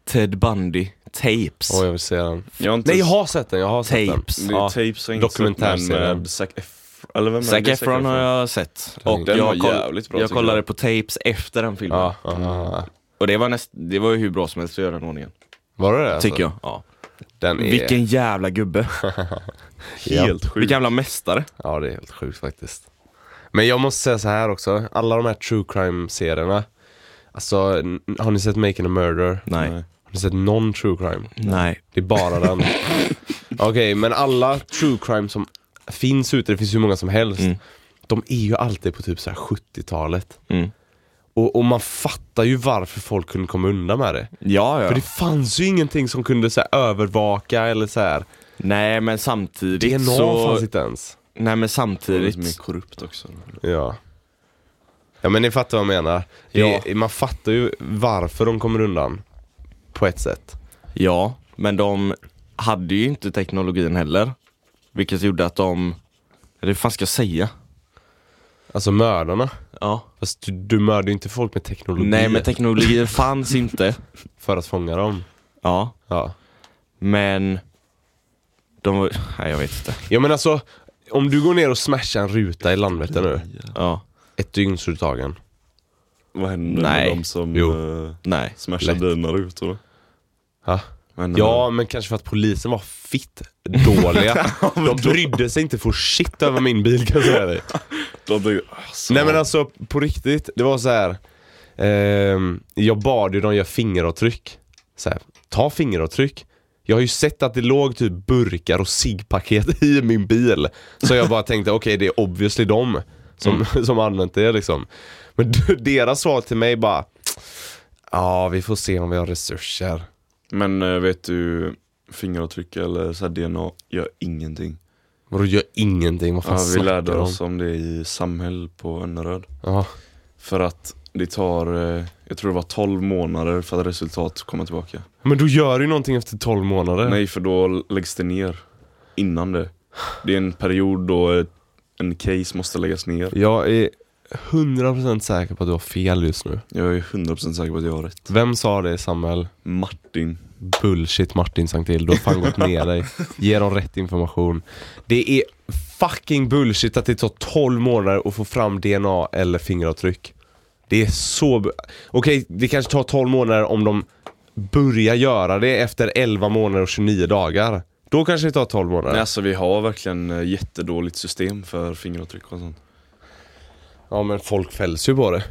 S4: Ted Bundy, Tapes.
S2: Åh, jag vill se den.
S3: Jag har inte
S2: Nej, jag har sett den, jag har sett
S4: Tapes.
S2: den.
S3: Det är
S2: Ja.
S3: tapes har jag inte sett, men
S2: Dokumentärserien.
S3: med Zac Efron. Eller vem är det?
S4: Zac
S3: Det är
S4: Efron har jag sett.
S2: Den-
S4: Och
S3: den var
S4: jag,
S3: jävligt bra,
S4: jag
S3: tycker jag.
S4: kollade på Tapes efter den filmen.
S2: Ja, ja, ja.
S4: Och det var, näst, det var ju hur bra som helst att göra den ordningen.
S2: Var det det? alltså?
S4: Tycker jag. Ja.
S2: Den är,
S4: Vilken jävla gubbe.
S3: Helt sjukt.
S4: Vilken jävla mästare.
S2: Ja, det är helt sjukt faktiskt. Men jag måste säga så här också, alla de här true crime-serierna. Alltså, n- har ni sett Making a Murder?
S4: Nej.
S2: Har ni sett någon true crime?
S4: Nej.
S2: Det är bara den. Okej, men alla true crime som finns ute, det finns hur många som helst.
S4: Mm.
S2: De är ju alltid på typ så här 70-talet.
S4: Mm.
S2: Och, och man fattar ju varför folk kunde komma undan med det.
S4: Ja, ja.
S2: För det fanns ju ingenting som kunde så här, övervaka eller så här.
S4: Nej, men samtidigt
S2: DNA
S4: så...
S2: fanns inte ens.
S4: Nej, men
S3: Det är lite mer
S4: samtidigt.
S3: korrupt också.
S2: Ja. Ja men ni fattar vad jag menar. Det, Man fattar ju varför de kommer undan. På ett sätt.
S4: Ja, men de hade ju inte teknologin heller. Vilket gjorde att de... Eller hur fan ska jag säga?
S2: Alltså mördarna.
S4: Ja.
S2: Fast du, du mördar ju inte folk med teknologi
S4: Nej, men teknologin fanns inte.
S2: för att fånga dem.
S4: Ja,
S2: Ja.
S4: men... De var... Nej, jag vet inte.
S2: ja men alltså, om du går ner och smashar en ruta i Landvetter nu.
S4: Ja.
S2: Ett dygn så är du tagen.
S3: Vad händer
S4: Nej.
S3: med de som
S2: Jo.
S3: eh,
S4: Nej.
S3: smashar
S2: Lätt.
S3: dina rutor då?
S2: Ha?
S3: Vad händer
S2: Ja men kanske för att polisen var fitt dåliga. De brydde sig inte för shit över min bil kan jag säga dig.
S3: med- De, alltså,
S2: Nej men alltså på riktigt, det var så här. ehm, jag bad ju dem göra fingeravtryck. Så här, ta fingeravtryck. Jag har ju sett att det låg typ burkar och ciggpaket i min bil. Så jag bara tänkte, okej det är obviously dem som,
S3: Mm.
S2: som använt det liksom. Men d- deras svar till mig bara, ja vi får se om vi har resurser.
S3: men eh, vet du fingeravtryck eller så här DNA gör ingenting.
S2: Vadå gör ingenting? Vad fan
S3: Ja, vi
S2: snackar
S3: lärde
S2: du om?
S3: oss om det i Samhäll på Önneröd.
S2: Ja.
S3: För att det tar, eh, jag tror det var 12 månader för att resultat kommer tillbaka.
S2: Men du gör ju någonting efter 12 månader.
S3: Nej, för då läggs det ner innan det. Det är en period då eh, en case måste läggas ner.
S2: Jag är 100% säker på att du har fel just nu.
S3: Jag är 100% säker på att jag har rätt.
S2: Vem sa det Samuel?
S3: Martin.
S2: Bullshit Martin Sanktill, du har fan gått ner dig. Ge dem rätt information. Det är fucking bullshit att det tar 12 månader att få fram DNA eller fingeravtryck. Det är så... bu- Okej, det kanske tar 12 månader om de börjar göra det efter 11 månader och 29 dagar. Då kanske det tar 12 månader.
S3: Nej, alltså vi har verkligen eh, jättedåligt system för fingeravtryck och sånt.
S2: Ja men folk fälls ju på det.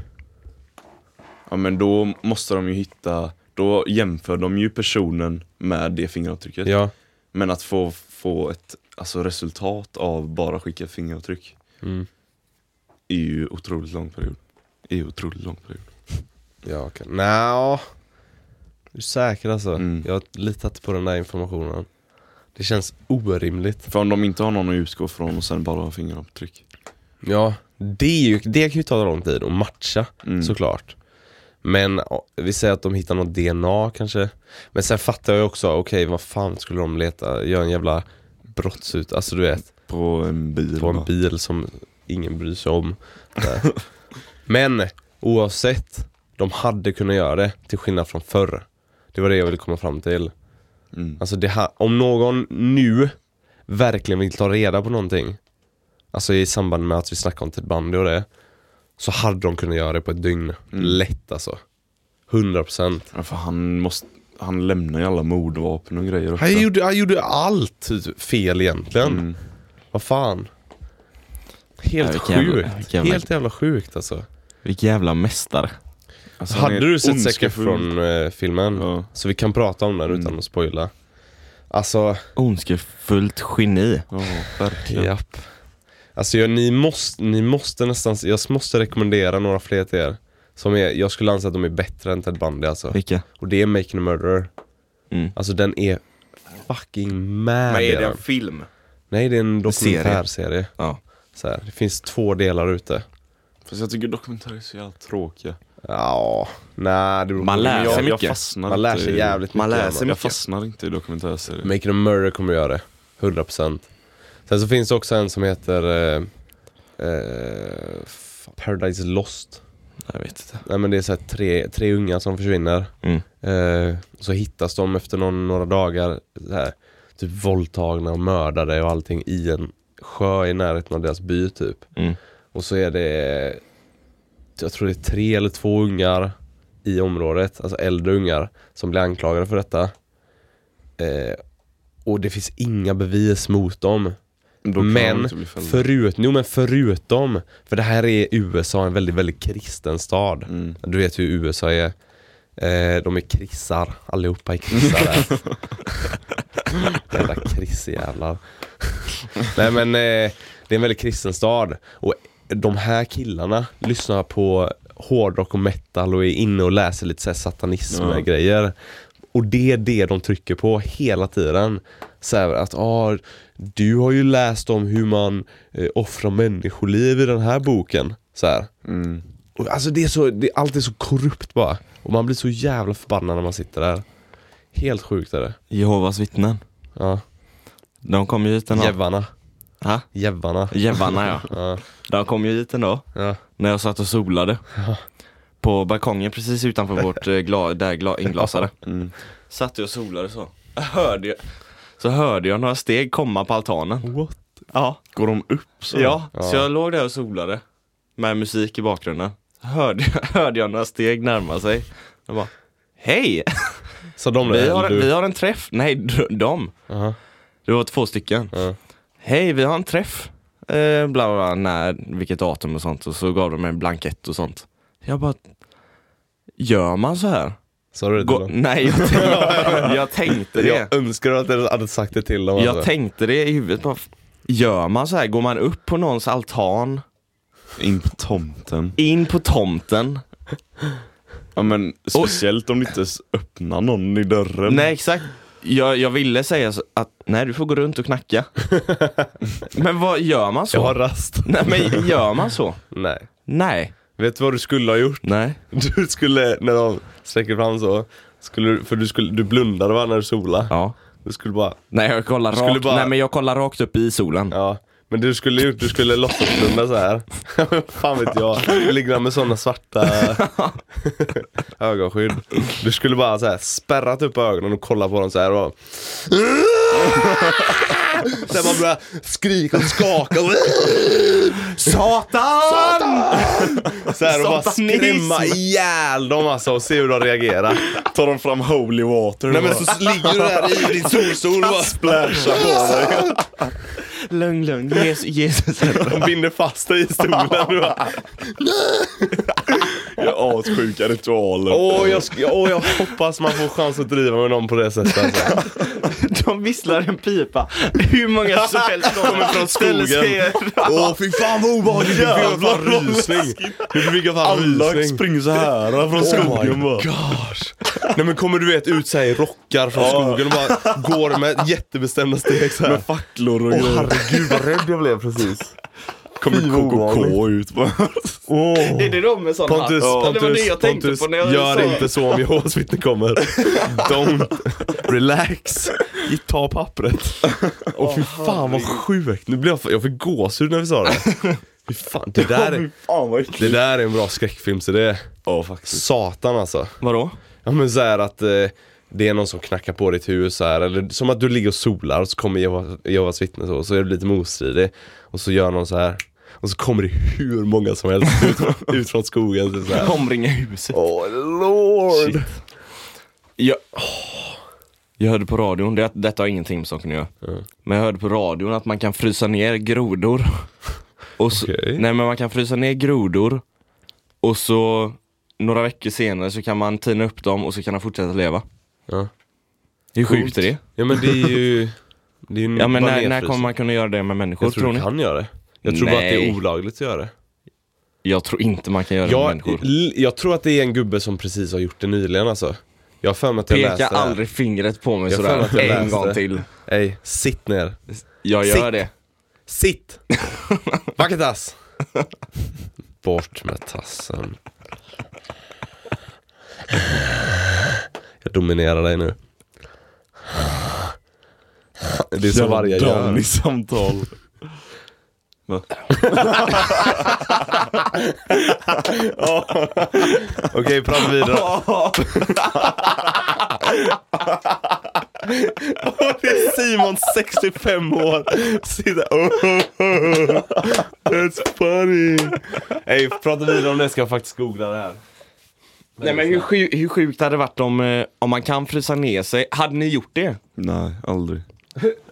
S3: Ja men då måste de ju hitta, då jämför de ju personen med det fingeravtrycket.
S2: Ja.
S3: Men att få, få ett alltså, resultat av bara skicka ett fingeravtryck
S2: Mm.
S3: är ju otroligt lång period. Är ju otroligt lång period.
S2: Ja, okej. Nja. Du är säker alltså?
S3: Mm.
S2: Jag har litat på den där informationen. Det känns orimligt.
S3: För om de inte har någon att utgå från och sen bara har fingeravtryck.
S2: Ja, det, är ju, det kan ju ta lång tid att matcha
S3: Mm.
S2: såklart. Men ja, vi säger att de hittar något DNA kanske. Men sen fattar jag ju också, okej vad fan skulle de leta, göra en jävla brottsut, alltså du vet,
S3: På en bil.
S2: på en
S3: va?
S2: bil som ingen bryr sig om. Nej. Men oavsett, de hade kunnat göra det till skillnad från förr. Det var det jag ville komma fram till.
S3: Mm.
S2: Alltså det här, om någon nu verkligen vill ta reda på någonting, alltså i samband med att vi snackade om Ted Bundy och det, så hade de kunnat göra det på ett dygn. Lätt alltså. 100%.
S3: Ja, för han måste, han lämnar ju alla mordvapen och grejer också.
S2: Han gjorde, han gjorde allt typ fel egentligen.
S3: Mm.
S2: Vad fan. Helt
S4: Ja, vilken jävla-
S2: sjukt.
S4: vilken jävla-
S2: Helt jävla sjukt alltså.
S4: Vilken jävla mästare.
S3: Alltså, han
S2: Hade
S3: är
S2: du sett
S3: ondskefull.
S2: Säcker från eh, filmen?
S3: Ja.
S2: Så vi kan prata om den
S4: Mm.
S2: utan att spoila. Alltså,
S4: Ondskefullt geni.
S3: Ja, verkligen.
S2: Japp. Alltså jag, ni, måste, ni måste nästan, jag måste rekommendera några fler till er. Som är, jag skulle anse att de är bättre än Ted Bundy alltså.
S4: Vilka?
S2: Och det är Making a Murderer.
S4: Mm.
S2: Alltså den är fucking mad.
S4: Men
S2: i den.
S4: film?
S2: Nej det är en
S4: serie?
S2: dokumentärserie.
S4: Ja.
S2: Så här, det finns två delar ute.
S3: Fast jag tycker dokumentärer är så jävla tråkiga.
S2: Ja, nej det beror på.
S4: Man lär
S3: Men
S4: sig
S3: jag, jag
S4: mycket.
S3: fastnar
S2: Man lär
S3: inte
S2: sig
S3: i-
S2: jävligt
S4: Man
S2: mycket.
S4: lär
S2: gör
S4: sig
S3: Jag fastnar inte i dokumentärserier.
S2: Making a Murderer kommer göra det. 100%. Sen så finns det också en som heter eh, eh, fan, Paradise Lost.
S4: Jag vet inte.
S2: Nej men det är så här tre, tre unga som försvinner.
S4: Mm.
S2: Eh, så hittas de efter någon, några dagar så här, typ våldtagna och mördade och allting i en sjö i närheten av deras by typ.
S4: Mm.
S2: Och så är det, jag tror det är tre eller två ungar i området, alltså äldre ungar, som blir anklagade för detta. Eh, och det finns inga bevis mot dem.
S3: Då kan de
S2: Men,
S3: inte bli fällda.
S2: förut, jo, men förutom, för det här är USA, en väldigt, väldigt kristen stad.
S3: Mm.
S2: Du vet hur USA är. Eh, de är krissar, allihopa är krissar där. Jävla krissjävlar. Nej men eh, det är en väldigt kristen stad. Och de här killarna lyssnar på hårdrock och metal och är inne och läser lite så här satanism-grejer. Och det är det de trycker på hela tiden. Så här att ah, du har ju läst om hur man eh, offrar människoliv i den här boken. Så här.
S3: Mm.
S2: Och Alltså det är så, det, allt är så korrupt bara. Och man blir så jävla förbannad när man sitter där. Helt sjukt är det.
S4: Jehovas vittnen.
S2: Ja.
S4: De kom ju hit en dag.
S2: Jävlarna.
S4: Ha?
S2: Jävlarna.
S4: Jävlarna ja.
S2: Ja.
S4: De kom ju hit en dag.
S2: Ja.
S4: När jag satt och solade. På balkongen precis utanför vårt eh, gla, där gla, inglasade.
S3: Mm.
S4: Satt jag och solade så. Hörde jag, så hörde jag några steg komma på altanen.
S2: What?
S4: Ja,
S3: Går de upp så?
S4: ja,
S2: Ja.
S4: så jag låg där och solade med musik i bakgrunden. Hörde jag, hörde jag några steg närma sig. Jag bara, hej!
S2: Så de
S4: Vi har,
S2: du.
S4: vi har en träff. Nej, d- de.
S2: Aha.
S4: Det var två stycken.
S2: Ja.
S4: Hej, vi har en träff. Eh, bla bla, bla när, vilket datum och sånt. Och så gav de mig en blankett och sånt. Jag bara, gör man så här?
S2: Sa du det till
S4: Gå,
S2: dem?
S4: nej, jag tänkte, jag tänkte det.
S2: Jag önskar att du hade sagt det till dem. alltså.
S4: Jag tänkte det i huvudet bara, f- gör man så här? Går man upp på någons altan,
S3: In på tomten.
S4: in på tomten?
S3: Ja men speciellt om du inte ens öppnar någon i dörren.
S2: Mm.
S4: Nej exakt, jag, jag ville säga så att nej, du får gå runt och knacka. men vad gör man så?
S2: Jag har rast.
S4: Nej, men gör man så?
S2: Nej.
S4: Nej.
S2: Vet du vad du skulle ha gjort?
S4: Nej.
S2: Du skulle, när de sträcker fram så, skulle, du- för du, skulle, du blundade va när du sola.
S4: Ja.
S2: Du skulle bara,
S4: Nej, jag kollar
S2: skulle
S4: rakt,
S2: bara-
S4: nej, men jag kollar rakt upp i solen.
S2: ja. Men det du skulle gjort, du skulle låtsasblunda så här. Fan vet jag, ligger där med sådana svarta ögonskydd. Du skulle bara så här spärrat upp ögonen och kollat på dem så här och Sen man börjar skrika och skaka och
S4: Satan!
S2: så här och bara
S4: Satanism!
S2: skrämma ihjäl dem alltså och se hur de reagerar.
S3: Tar de fram holy water och
S1: Nej men så ligger du där i din solstol och bara
S3: splashar på dig.
S4: Lugn, lugn. Jesus, Jesus.
S2: De binder fast dig i stolen. Du bara,
S3: Ja, assjuka ritualer.
S2: Åh, jag, sk- åh, jag hoppas man får chans att driva med någon på det sättet. Alltså.
S4: De visslar en pipa. Hur många som helst kommer från
S2: skogen. Åh, fy fan vad obehagligt. Du fick jag fan rysning. Du fick jag fan
S3: Alla
S2: rysning.
S3: springer så här från skogen bara.
S2: gosh. Nej men kommer du vet ut såhär i rockar från skogen och bara går med jättebestämda steg såhär.
S3: Med facklor och grejer.
S2: herregud vad rädd jag blev precis.
S3: Kommer KKK ut bara.
S4: Är det de med sådana
S2: Pontus,
S4: det var det
S2: Pontus,
S4: jag tänkte
S2: Pontus,
S4: på när jag
S2: gör
S4: sa.
S2: inte så om Jehovas vittnen kommer. Don't relax. Gitt, Ta pappret. Och fy fan vad sjukt. Nu blev jag, jag fick gåshud när vi sa det. Fy fan, det där är,
S3: Fan vad
S2: det
S3: äckligt.
S2: där är en bra skräckfilmsidé.
S3: Ja, faktiskt.
S2: Satan alltså.
S4: Vadå?
S2: Ja men så här att eh, det är någon som knackar på ditt hus så här, eller som att du ligger och solar och så kommer Jehova- Jehovas vittnen så, och så är du lite motstridig och så gör någon så här och så kommer det hur många som helst ut, från- ut från skogen så, så här.
S4: Omringa huset.
S2: Oh lord!
S4: Shit. Jag, Åh. jag hörde på radion, det, detta har ingenting med saken att göra.
S2: Mm.
S4: Men jag hörde på radion att man kan frysa ner grodor. Och så,
S2: Okej.
S4: Nej men man kan frysa ner grodor och så några veckor senare så kan man tina upp dem och så kan de fortsätta leva.
S2: Ja.
S4: Hur sjukt är det?
S2: Ja men det är ju... Det är ju
S4: Ja men
S2: bara
S4: när, när
S2: nedfrysen.
S4: kommer man kunna göra det med människor
S2: Jag
S4: tror,
S2: tror
S4: ni?
S2: du kan göra det. Jag tror bara att det
S4: Nej.
S2: är olagligt att göra det.
S4: Jag tror inte man kan göra det med
S2: Jag,
S4: människor.
S2: l- jag tror att det är en gubbe som precis har gjort det nyligen alltså. Jag har för mig att jag
S4: Peka
S2: läste det här.
S4: aldrig fingret på mig
S2: Jag får att
S4: sådär
S2: jag
S4: en
S2: läste.
S4: gång till.
S2: Ey, sitt ner.
S4: Jag gör
S2: Sitt.
S4: det.
S2: Sitt! Vaketas! Bort med tassen. Jag dominerar dig nu. Det är så varje gör.
S3: i samtal.
S2: Okej, prata vidare. Och det är Simon, 65 år. Sitter... That's funny. Ey, prata vidare om det ska jag faktiskt googla det här.
S4: Nej men hur, sju, hur sjukt hade det varit om, eh, om man kan frysa ner sig? Hade ni gjort det?
S3: Nej, aldrig.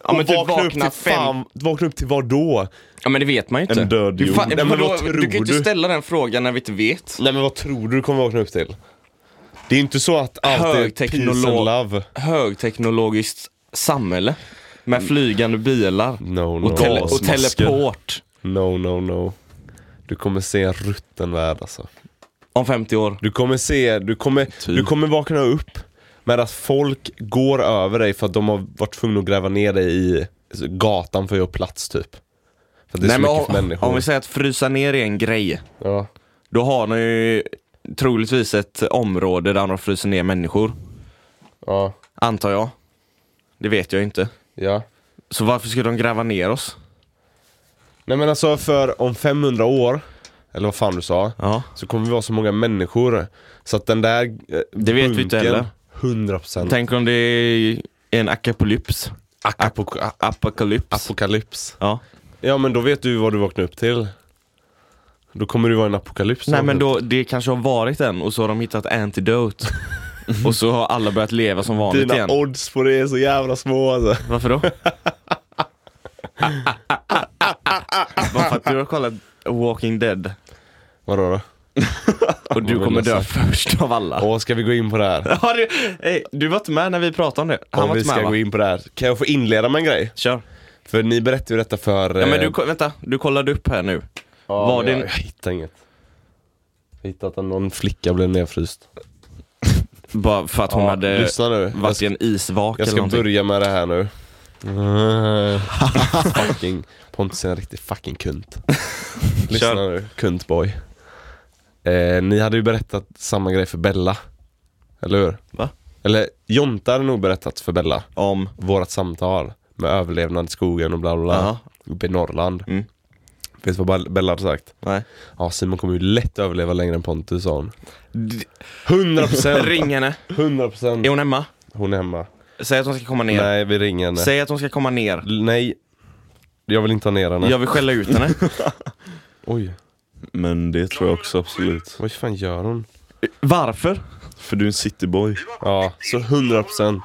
S4: Ja men typ vakna
S2: upp till,
S4: fem...
S2: fan, vakna upp till vad då?
S4: Ja men det vet man ju inte.
S3: En död
S4: du,
S3: jord.
S4: fan,
S2: Nej, men
S4: vadå?
S2: vad tror
S4: du kan ju inte
S2: du?
S4: ställa den frågan när vi inte vet.
S2: Nej men vad tror du du kommer vakna upp till? Det är inte så att allt är peace
S4: Högteknolog.
S2: and love.
S4: Högteknologiskt samhälle. Med flygande bilar.
S2: No, no,
S4: Och, tele och
S3: gasmasker.
S4: teleport.
S2: no, no, no. Du kommer se en rutten värld alltså.
S4: Om 50 år.
S2: Du kommer se, du kommer, du
S4: Typ.
S2: kommer vakna upp med att folk går över dig för att de har varit tvungna att gräva ner dig i gatan för att göra plats typ. För att det är så mycket
S4: om,
S2: människor.
S4: om vi säger att frysa ner är en grej.
S2: ja.
S4: Då har ni ju troligtvis ett område där de fryser ner människor.
S2: ja,
S4: Antar jag. Det vet jag inte.
S2: ja.
S4: Så varför ska de gräva ner oss?
S2: Nej men alltså för om 500 år, eller vad fan du sa,
S4: Ja.
S2: så kommer vi vara så många människor så att den där eh,
S4: Det vet vi inte
S2: bunken,
S4: heller.
S2: 100%
S4: Tänk Mm. om det är en akapolyps.
S2: apok- a-
S4: Apokalyps.
S2: apokalyps.
S4: ja.
S2: Ja men då vet du vad du vaknar upp till. Då kommer du vara en apokalyps.
S4: Nej men då, det kanske har varit en och så har de hittat antidote. och så har alla börjat leva som vanligt
S2: Dina
S4: igen.
S2: odds på det är så jävla små alltså.
S4: Varför då? Bara för att du har kollat Walking Dead
S2: Vadå då?
S4: och du
S2: Vad
S4: kommer
S2: vill jag
S4: dö först av alla.
S2: Åh, ska vi gå in på det här?
S4: Har du, hey, du var inte med när vi pratade om det. Han
S2: Om
S4: var
S2: vi
S4: inte
S2: ska
S4: med va?
S2: gå in på det här. Kan jag få inleda med en grej?
S4: Kör.
S2: För ni berättade ju detta för...
S4: Ja, men
S2: eh,
S4: du, ko- vänta, du kollade upp här nu.
S2: ja,
S4: var
S2: jag,
S4: det-
S2: jag hittade inget. Jag hittade att någon flicka blev nedfryst.
S4: Bara för att hon
S2: Ja,
S4: hade
S2: lyssna nu. Jag
S4: varit
S2: ska-
S4: i en isvak
S2: Jag
S4: eller
S2: ska
S4: någonting.
S2: börja med det här nu. Mm. fucking, Pontus är en riktig fucking kunt. Lyssna
S4: Kör.
S2: nu, kuntboy. Eh, ni hade ju berättat samma grej för Bella. Eller hur?
S4: Va?
S2: Eller Jonta hade nog berättat för Bella.
S4: Om,
S2: Vårat samtal med överlevnad i skogen och bla bla bla.
S4: Jaha.
S2: Uppe i Norrland.
S4: Mm.
S2: Vet du vad Bella hade sagt?
S4: nej.
S2: Ja, Simon kommer ju lätt överleva längre än Pontus sa hon. 100%!
S4: Ring henne.
S2: 100%!
S4: Är hon hemma?
S2: Hon är hemma.
S4: Säg att hon ska komma ner.
S2: Nej, vi ringer henne.
S4: Säg att hon ska komma ner.
S2: L- Nej. Jag vill inte ha ner henne.
S4: Jag vill skälla ut henne.
S2: Oj,
S3: Men det tror jag också absolut.
S2: vad fan gör hon?
S4: Varför?
S3: För du är en cityboy.
S2: Ja, så 100%.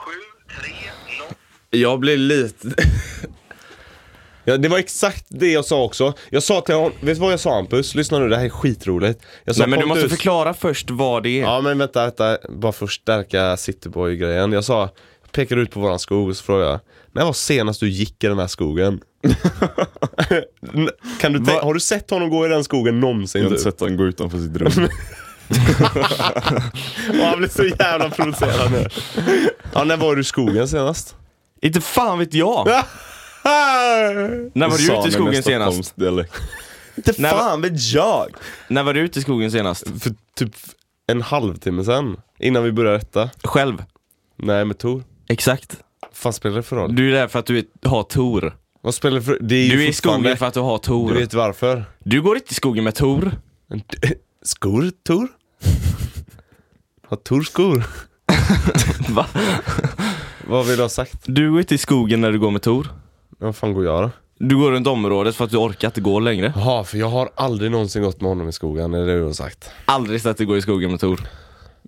S4: Jag blir lite...
S2: Ja, det var exakt det jag sa också. Jag sa till honom, vet du vad jag sa Hampus? Lyssna nu, det här är skitroligt. Jag sa,
S4: Nej men du måste
S2: "Pontus,
S4: förklara först vad det är.
S2: Ja men vänta, vänta, bara för att stärka Cityboy-grejen. Jag sa, jag pekade ut på våran skog och så frågade jag, när var senast du gick i den här skogen? N- kan du tän-
S4: Va-
S2: har du sett honom gå i den skogen någonsin? typ?
S3: Jag har inte
S2: Du?
S3: sett han gå utanför sitt rum.
S2: Och han blev så jävla provocerad nu. Ja, när var du i skogen senast?
S4: Inte fan vet jag! När var du ute i skogen senast?
S3: Dialekt.
S2: Inte
S4: Nej,
S2: fan vet jag!
S4: När var du ute i skogen senast?
S2: För typ en halvtimme sen, innan vi började rätta.
S4: Själv?
S2: Nej, med Tor.
S4: Exakt.
S2: Vad fan spelar det för roll?
S4: Du är där för att du är- har Tor.
S2: Vad spelar det för Det är ju
S4: Du är i skogen
S2: fortfarande-
S4: för att du har Tor.
S2: Du vet varför?
S4: Du går inte i skogen med Tor.
S2: Skor, Tor? Har Tor skor?
S4: Va?
S2: Vad vill du ha sagt?
S4: Du går inte i skogen när du går med Tor.
S2: Vad fan går jag då?
S4: Du går runt området för att du orkar inte gå längre.
S2: Jaha, för jag har aldrig någonsin gått med honom i skogen, är det det du har sagt?
S4: Aldrig sett dig gå i skogen med Tor.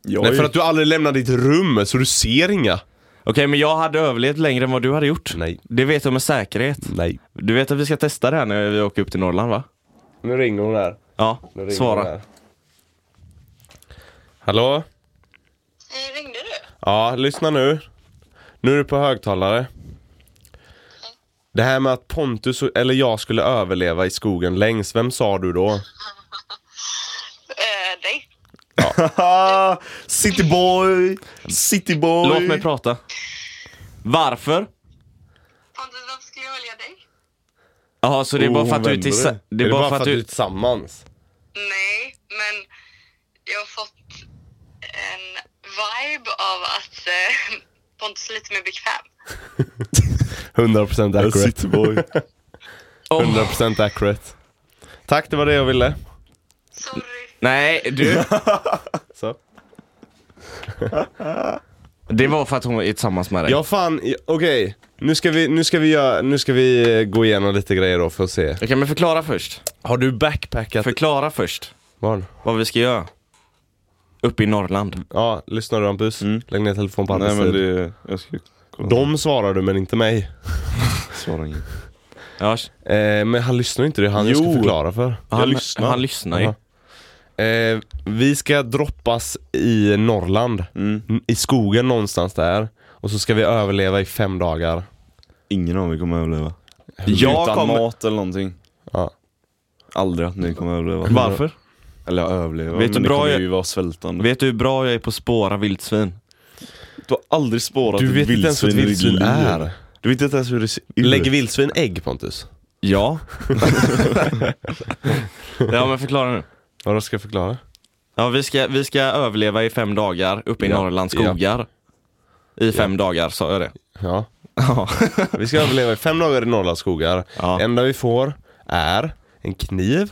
S3: Jag
S2: Nej, för att du aldrig lämnar ditt rum, så du ser inga.
S4: Okej, men jag hade överlevt längre än vad du hade gjort.
S2: Nej.
S4: Det vet jag med säkerhet.
S2: Nej.
S4: Du vet att vi ska testa det här när vi åker upp till Norrland va?
S2: Nu ringer hon här.
S4: Ja,
S2: Nu ringer hon
S4: svara.
S2: här. Hallå?
S6: Eh, Ringde du?
S2: Ja, lyssna nu. Nu är du på högtalare. Det här med att Pontus, och- eller jag, skulle överleva i skogen längst, vem sa du då?
S6: Eh, dig?
S3: Ah, cityboy! Cityboy!
S4: Låt mig prata. Varför?
S6: Pontus, varför ska jag välja dig?
S4: Jaha, så det är
S3: Oh,
S4: bara för att du är
S3: vem
S4: till...
S3: var det?
S4: Det är bara för att
S2: vi är
S4: du...
S2: tillsammans?
S6: Nej, men jag har fått en vibe av att eh, Pontus är lite mer bekväm.
S2: 100%
S3: Ja,
S2: accurate.
S3: Cityboy.
S2: 100% accurate. Tack, det var det jag ville.
S6: Sorry.
S4: Nej, du.
S2: Så.
S4: Det var för att hon är tillsammans med dig.
S2: Ja fan, i- okej. Nu ska vi, nu ska vi, göra, nu ska vi eh, gå igenom lite grejer då för att se.
S4: Okej, men förklara först.
S2: Har du backpackat?
S4: Förklara först
S2: Barn?
S4: vad vi ska göra. Uppe i Norrland.
S2: Ja, lyssnar du Hampus? Lägg ner telefonen på
S3: Nej
S2: Hampus
S3: men
S2: tid.
S3: det... Jag ska kolla.
S2: De svarar du men inte mig.
S3: svarar inget.
S4: Ja,
S2: Eh, men han lyssnar ju inte, det är han jag ska
S3: Jo.
S2: förklara för.
S4: han,
S3: lyssnar.
S4: Han lyssnar ju.
S2: Jaha. Eh, vi ska droppas i Norrland, N- i skogen någonstans där. Och så ska vi överleva i fem dagar.
S3: Ingen av er kommer överleva.
S4: Jag
S3: Utan
S4: kommer...
S3: mat eller någonting.
S2: Ja.
S3: Aldrig att ni kommer överleva.
S4: Varför?
S3: Eller överleva,
S4: Vet
S3: men
S4: du
S3: ni
S4: bra
S3: kommer
S4: jag-
S3: ju vara svältande.
S4: Vet du hur bra jag är på att spåra vildsvin?
S3: Du har aldrig spårat
S2: Du
S3: ett
S2: vet inte ens vad ett
S3: vildsvin i ditt
S2: vildsvin
S3: liv.
S2: är.
S3: Du vet inte ens hur det ser ut.
S2: Lägger vildsvin ägg Pontus?
S4: Ja. ja, men förklara nu.
S2: Vadå ska jag förklara?
S4: Ja, vi ska, vi ska överleva i fem dagar uppe i
S2: Ja.
S4: Norrlands skogar. I fem dagar, sa jag det?
S2: Ja.
S4: Ja.
S2: Vi ska överleva i fem dagar i Norrlands skogar.
S4: Ja.
S2: enda vi får är en kniv.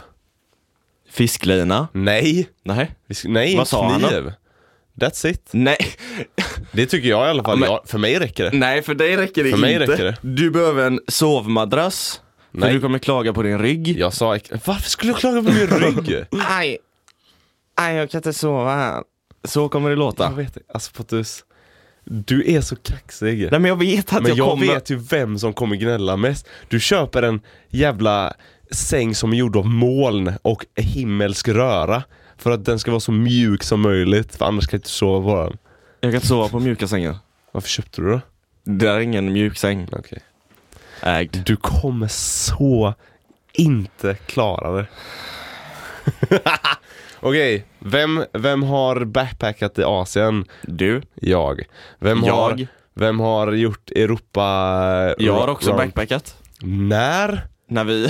S4: Fisklina?
S2: Nej!
S4: Nej.
S2: Vi ska, nej, en
S4: Vad sa han då?
S2: kniv. That's it.
S4: Nej.
S2: Det tycker jag i alla fall.
S4: men-
S2: Jag, för mig räcker det.
S4: Nej, för dig räcker det
S2: För
S4: inte.
S2: mig räcker det.
S4: Du behöver en sovmadrass. För
S2: Nej.
S4: du kommer klaga på din rygg.
S2: Jag sa, ex- varför skulle jag klaga på min rygg?
S4: Aj. Aj, jag kan inte sova här. Så kommer det låta.
S2: Jag vet det. Alltså Pontus, du är så kaxig.
S4: Nej men jag vet att
S2: Men jag,
S4: jag, kommer...
S2: vet ju vem som kommer gnälla mest. Du köper en jävla säng som är gjord av moln och himmelsk röra. För att den ska vara så mjuk som möjligt, för annars kan jag inte sova på den.
S4: Jag kan inte sova på mjuka sängar.
S2: Varför köpte du det?
S4: Det där är ingen mjuk säng.
S2: Okej.
S4: Ägd.
S2: Du kommer så inte klara det. Okej, vem, vem har backpackat i Asien?
S4: Du?
S2: Jag. Vem
S4: Jag.
S2: har Vem har gjort Europa...
S4: Jag har också
S2: round-
S4: backpackat.
S2: När?
S4: När vi,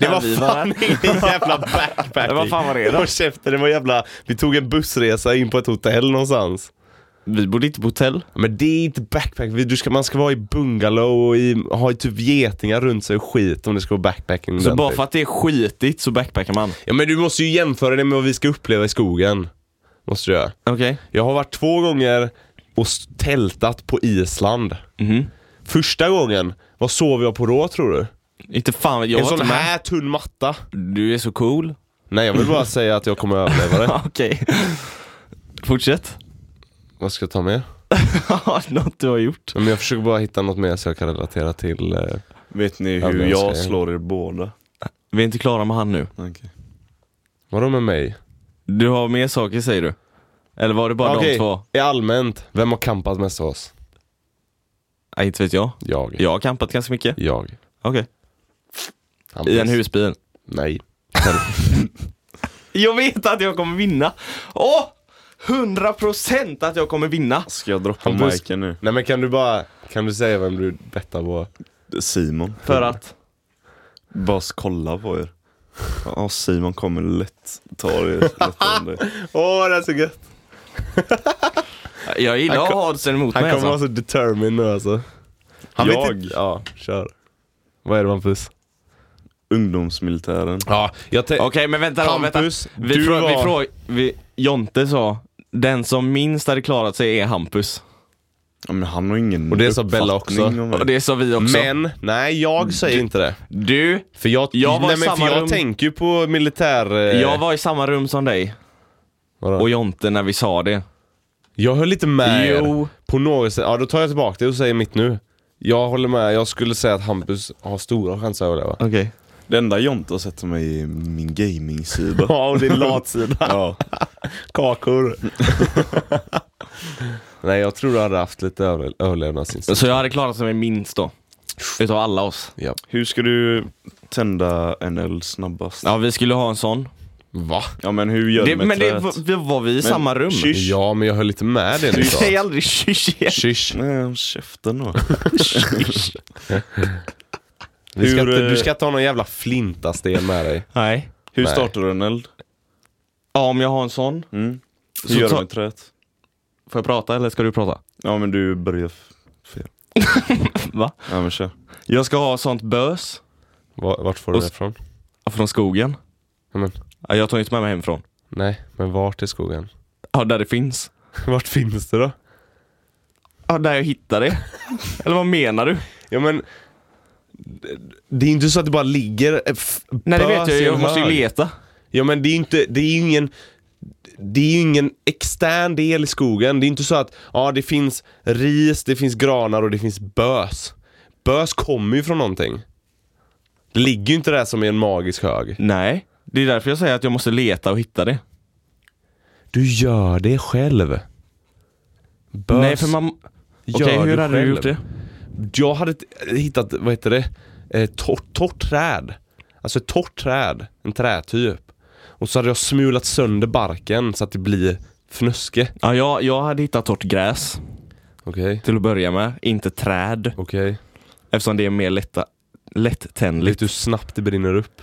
S4: när
S2: var
S4: vi var
S2: fan
S4: här.
S2: ingen jävla backpacking.
S4: Men vad fan var det då?
S2: Håll käften, det var jävla... Vi tog en bussresa in på ett hotell någonstans.
S4: Vi bodde inte på hotell.
S2: Men det är inte backpack. Du ska, man ska vara i bungalow och i, ha typ getingar runt sig och skit om det ska vara backpacking.
S4: Så bara
S2: ordentligt.
S4: för att det är skitigt så backpackar man.
S2: Ja men du måste ju jämföra det med vad vi ska uppleva i skogen. Måste du göra.
S4: Okej.
S2: Jag har varit två gånger och s- tältat på Island.
S4: Mhm.
S2: Första gången, vad sov jag på då tror du?
S4: Inte fan, jag
S2: en
S4: var
S2: sån
S4: inte med.
S2: här tunn matta.
S4: Du är så cool.
S2: Nej jag vill bara säga att jag kommer att överleva det.
S4: Okej. Fortsätt.
S2: Vad ska jag ta med?
S4: Något du har gjort.
S2: Men jag försöker bara hitta något mer så jag kan relatera till. eh,
S3: Vet ni
S2: Ja,
S3: hur
S2: men jag
S3: jag
S2: ska-
S3: slår er båda?
S4: Vi är inte klara med han nu.
S3: Okej.
S2: Vadå med mig?
S4: Du har mer saker säger du? Eller var det bara de
S2: Okej,
S4: två?
S2: i allmänt, vem har campat mest av oss?
S4: Nej, inte vet jag.
S2: Jag.
S4: Jag har campat ganska mycket.
S2: Jag.
S4: Okej.
S2: Hampus.
S4: I en husbil.
S2: Nej.
S4: Jag vet att jag kommer vinna! Åh! 100% att jag kommer vinna!
S3: Ska jag droppa
S2: Hampus.
S3: miken nu?
S2: Nej men kan du bara, kan du säga vem du bettar på?
S3: Simon.
S4: För att...
S3: Bara kolla på er. Ja, Simon kommer lätt ta er lättare än dig.
S2: Åh det är så gött!
S4: Jag gillar
S2: Han
S4: att
S2: kom-
S4: ha oddsen emot
S2: Han
S4: mig
S2: kommer vara
S4: alltså.
S2: så determined nu alltså. Han vet
S3: Jag?
S2: inte- Ja, kör. Vad är det Hampus?
S3: Ungdomsmilitären.
S2: Ja, jag
S4: Okej men vänta då, vänta.
S2: Hampus,
S4: Vi
S2: du
S4: frå- vi
S2: var-
S4: frå- vi, Jonte sa, den som minst hade klarat sig är Hampus.
S3: Ja, men han har ingen
S2: Och det sa Bella
S3: uppfattning
S2: också.
S3: om
S4: Och det sa vi också. Eh.
S2: Men, nej jag säger inte det.
S4: Du,
S2: För jag,
S4: Jag var
S2: nej,
S4: i
S2: men för
S4: samma
S2: jag
S4: rum.
S2: tänker ju på militär... eh,
S4: jag var i samma rum som dig
S2: vadå?
S4: och Jonte när vi sa det.
S2: Jag höll lite med
S4: Jo.
S2: er. På något sätt. Ja, då tar jag tillbaka det och säger mitt nu. Jag håller med. Jag skulle säga att Hampus har stora chanser att överleva.
S4: Okej.
S3: Det enda Jonte har sett som mig är min gaming-sida.
S2: Ja, och din latsida.
S3: ja.
S2: Kakor. Nej, jag tror du hade haft lite över- överlevnadsinstinkt.
S4: Så jag hade klarat mig minst då. Utav alla oss.
S2: Ja.
S3: Hur ska du tända en eld snabbast?
S4: Ja, vi skulle ha en sån.
S2: Va?
S3: Ja, men hur gör
S4: Det,
S3: du med
S4: men det
S3: träet?
S4: var, vi var vi i samma rum?
S3: kyss.
S2: Ja, men jag höll lite med det
S4: Du
S2: ni sa.
S4: säger aldrig kyss igen.
S2: Shish.
S3: Nej, håll käften då.
S2: Vi ska
S3: Hur,
S2: inte,
S3: eh,
S2: du ska inte ha någon jävla flintasten med dig.
S4: Nej.
S3: Hur
S2: Nej.
S3: startar du en eld?
S4: Ja, om jag har en sån.
S3: Mm. Hur
S4: Så
S3: gör
S4: ta-
S3: du med träet?
S4: Får jag prata eller ska du prata?
S3: Ja, men du börjar f- fel.
S4: Va?
S3: Ja, men kör.
S4: Jag ska ha sånt bös.
S2: Var, vart får du
S4: Och
S2: det
S4: s-
S2: ifrån?
S4: Från skogen.
S2: Ja, men,
S4: Ja, Jag tar inte med mig hemifrån.
S2: nej, men vart i skogen?
S4: Ja, där det finns.
S2: Vart finns det då?
S4: Ja, där jag hittar det. eller vad menar du?
S2: Ja men det- det är inte så att det bara ligger eh, f-
S4: Nej, det vet
S2: bös
S4: jag.
S2: i en
S4: Jag måste ju
S2: hög.
S4: leta.
S2: Ja men det är inte, det är ju ingen det är ju ingen extern del i skogen. Det är inte så att ja, det finns ris, det finns granar och det finns bös. Bös kommer ju från någonting. Det ligger ju inte där som i en magisk hög.
S4: Nej. Det är därför jag säger att jag måste leta och hitta det.
S2: Du gör det själv. Bös
S4: Nej, för man... Okej,
S2: gör
S4: hur
S2: du
S4: hade du
S2: själv.
S4: gjort det?
S2: Jag hade t- hittat, vad heter det, eh, torrt, torrt träd. Alltså ett torrt träd, en trätyp. Och så hade jag smulat sönder barken så att det blir fnöske.
S4: Ja, jag, jag hade hittat torrt gräs
S2: Okej.
S4: till att börja med. Inte träd.
S2: Okej.
S4: Eftersom det är mer lätta, lättändligt.
S2: Vet du hur snabbt det brinner upp?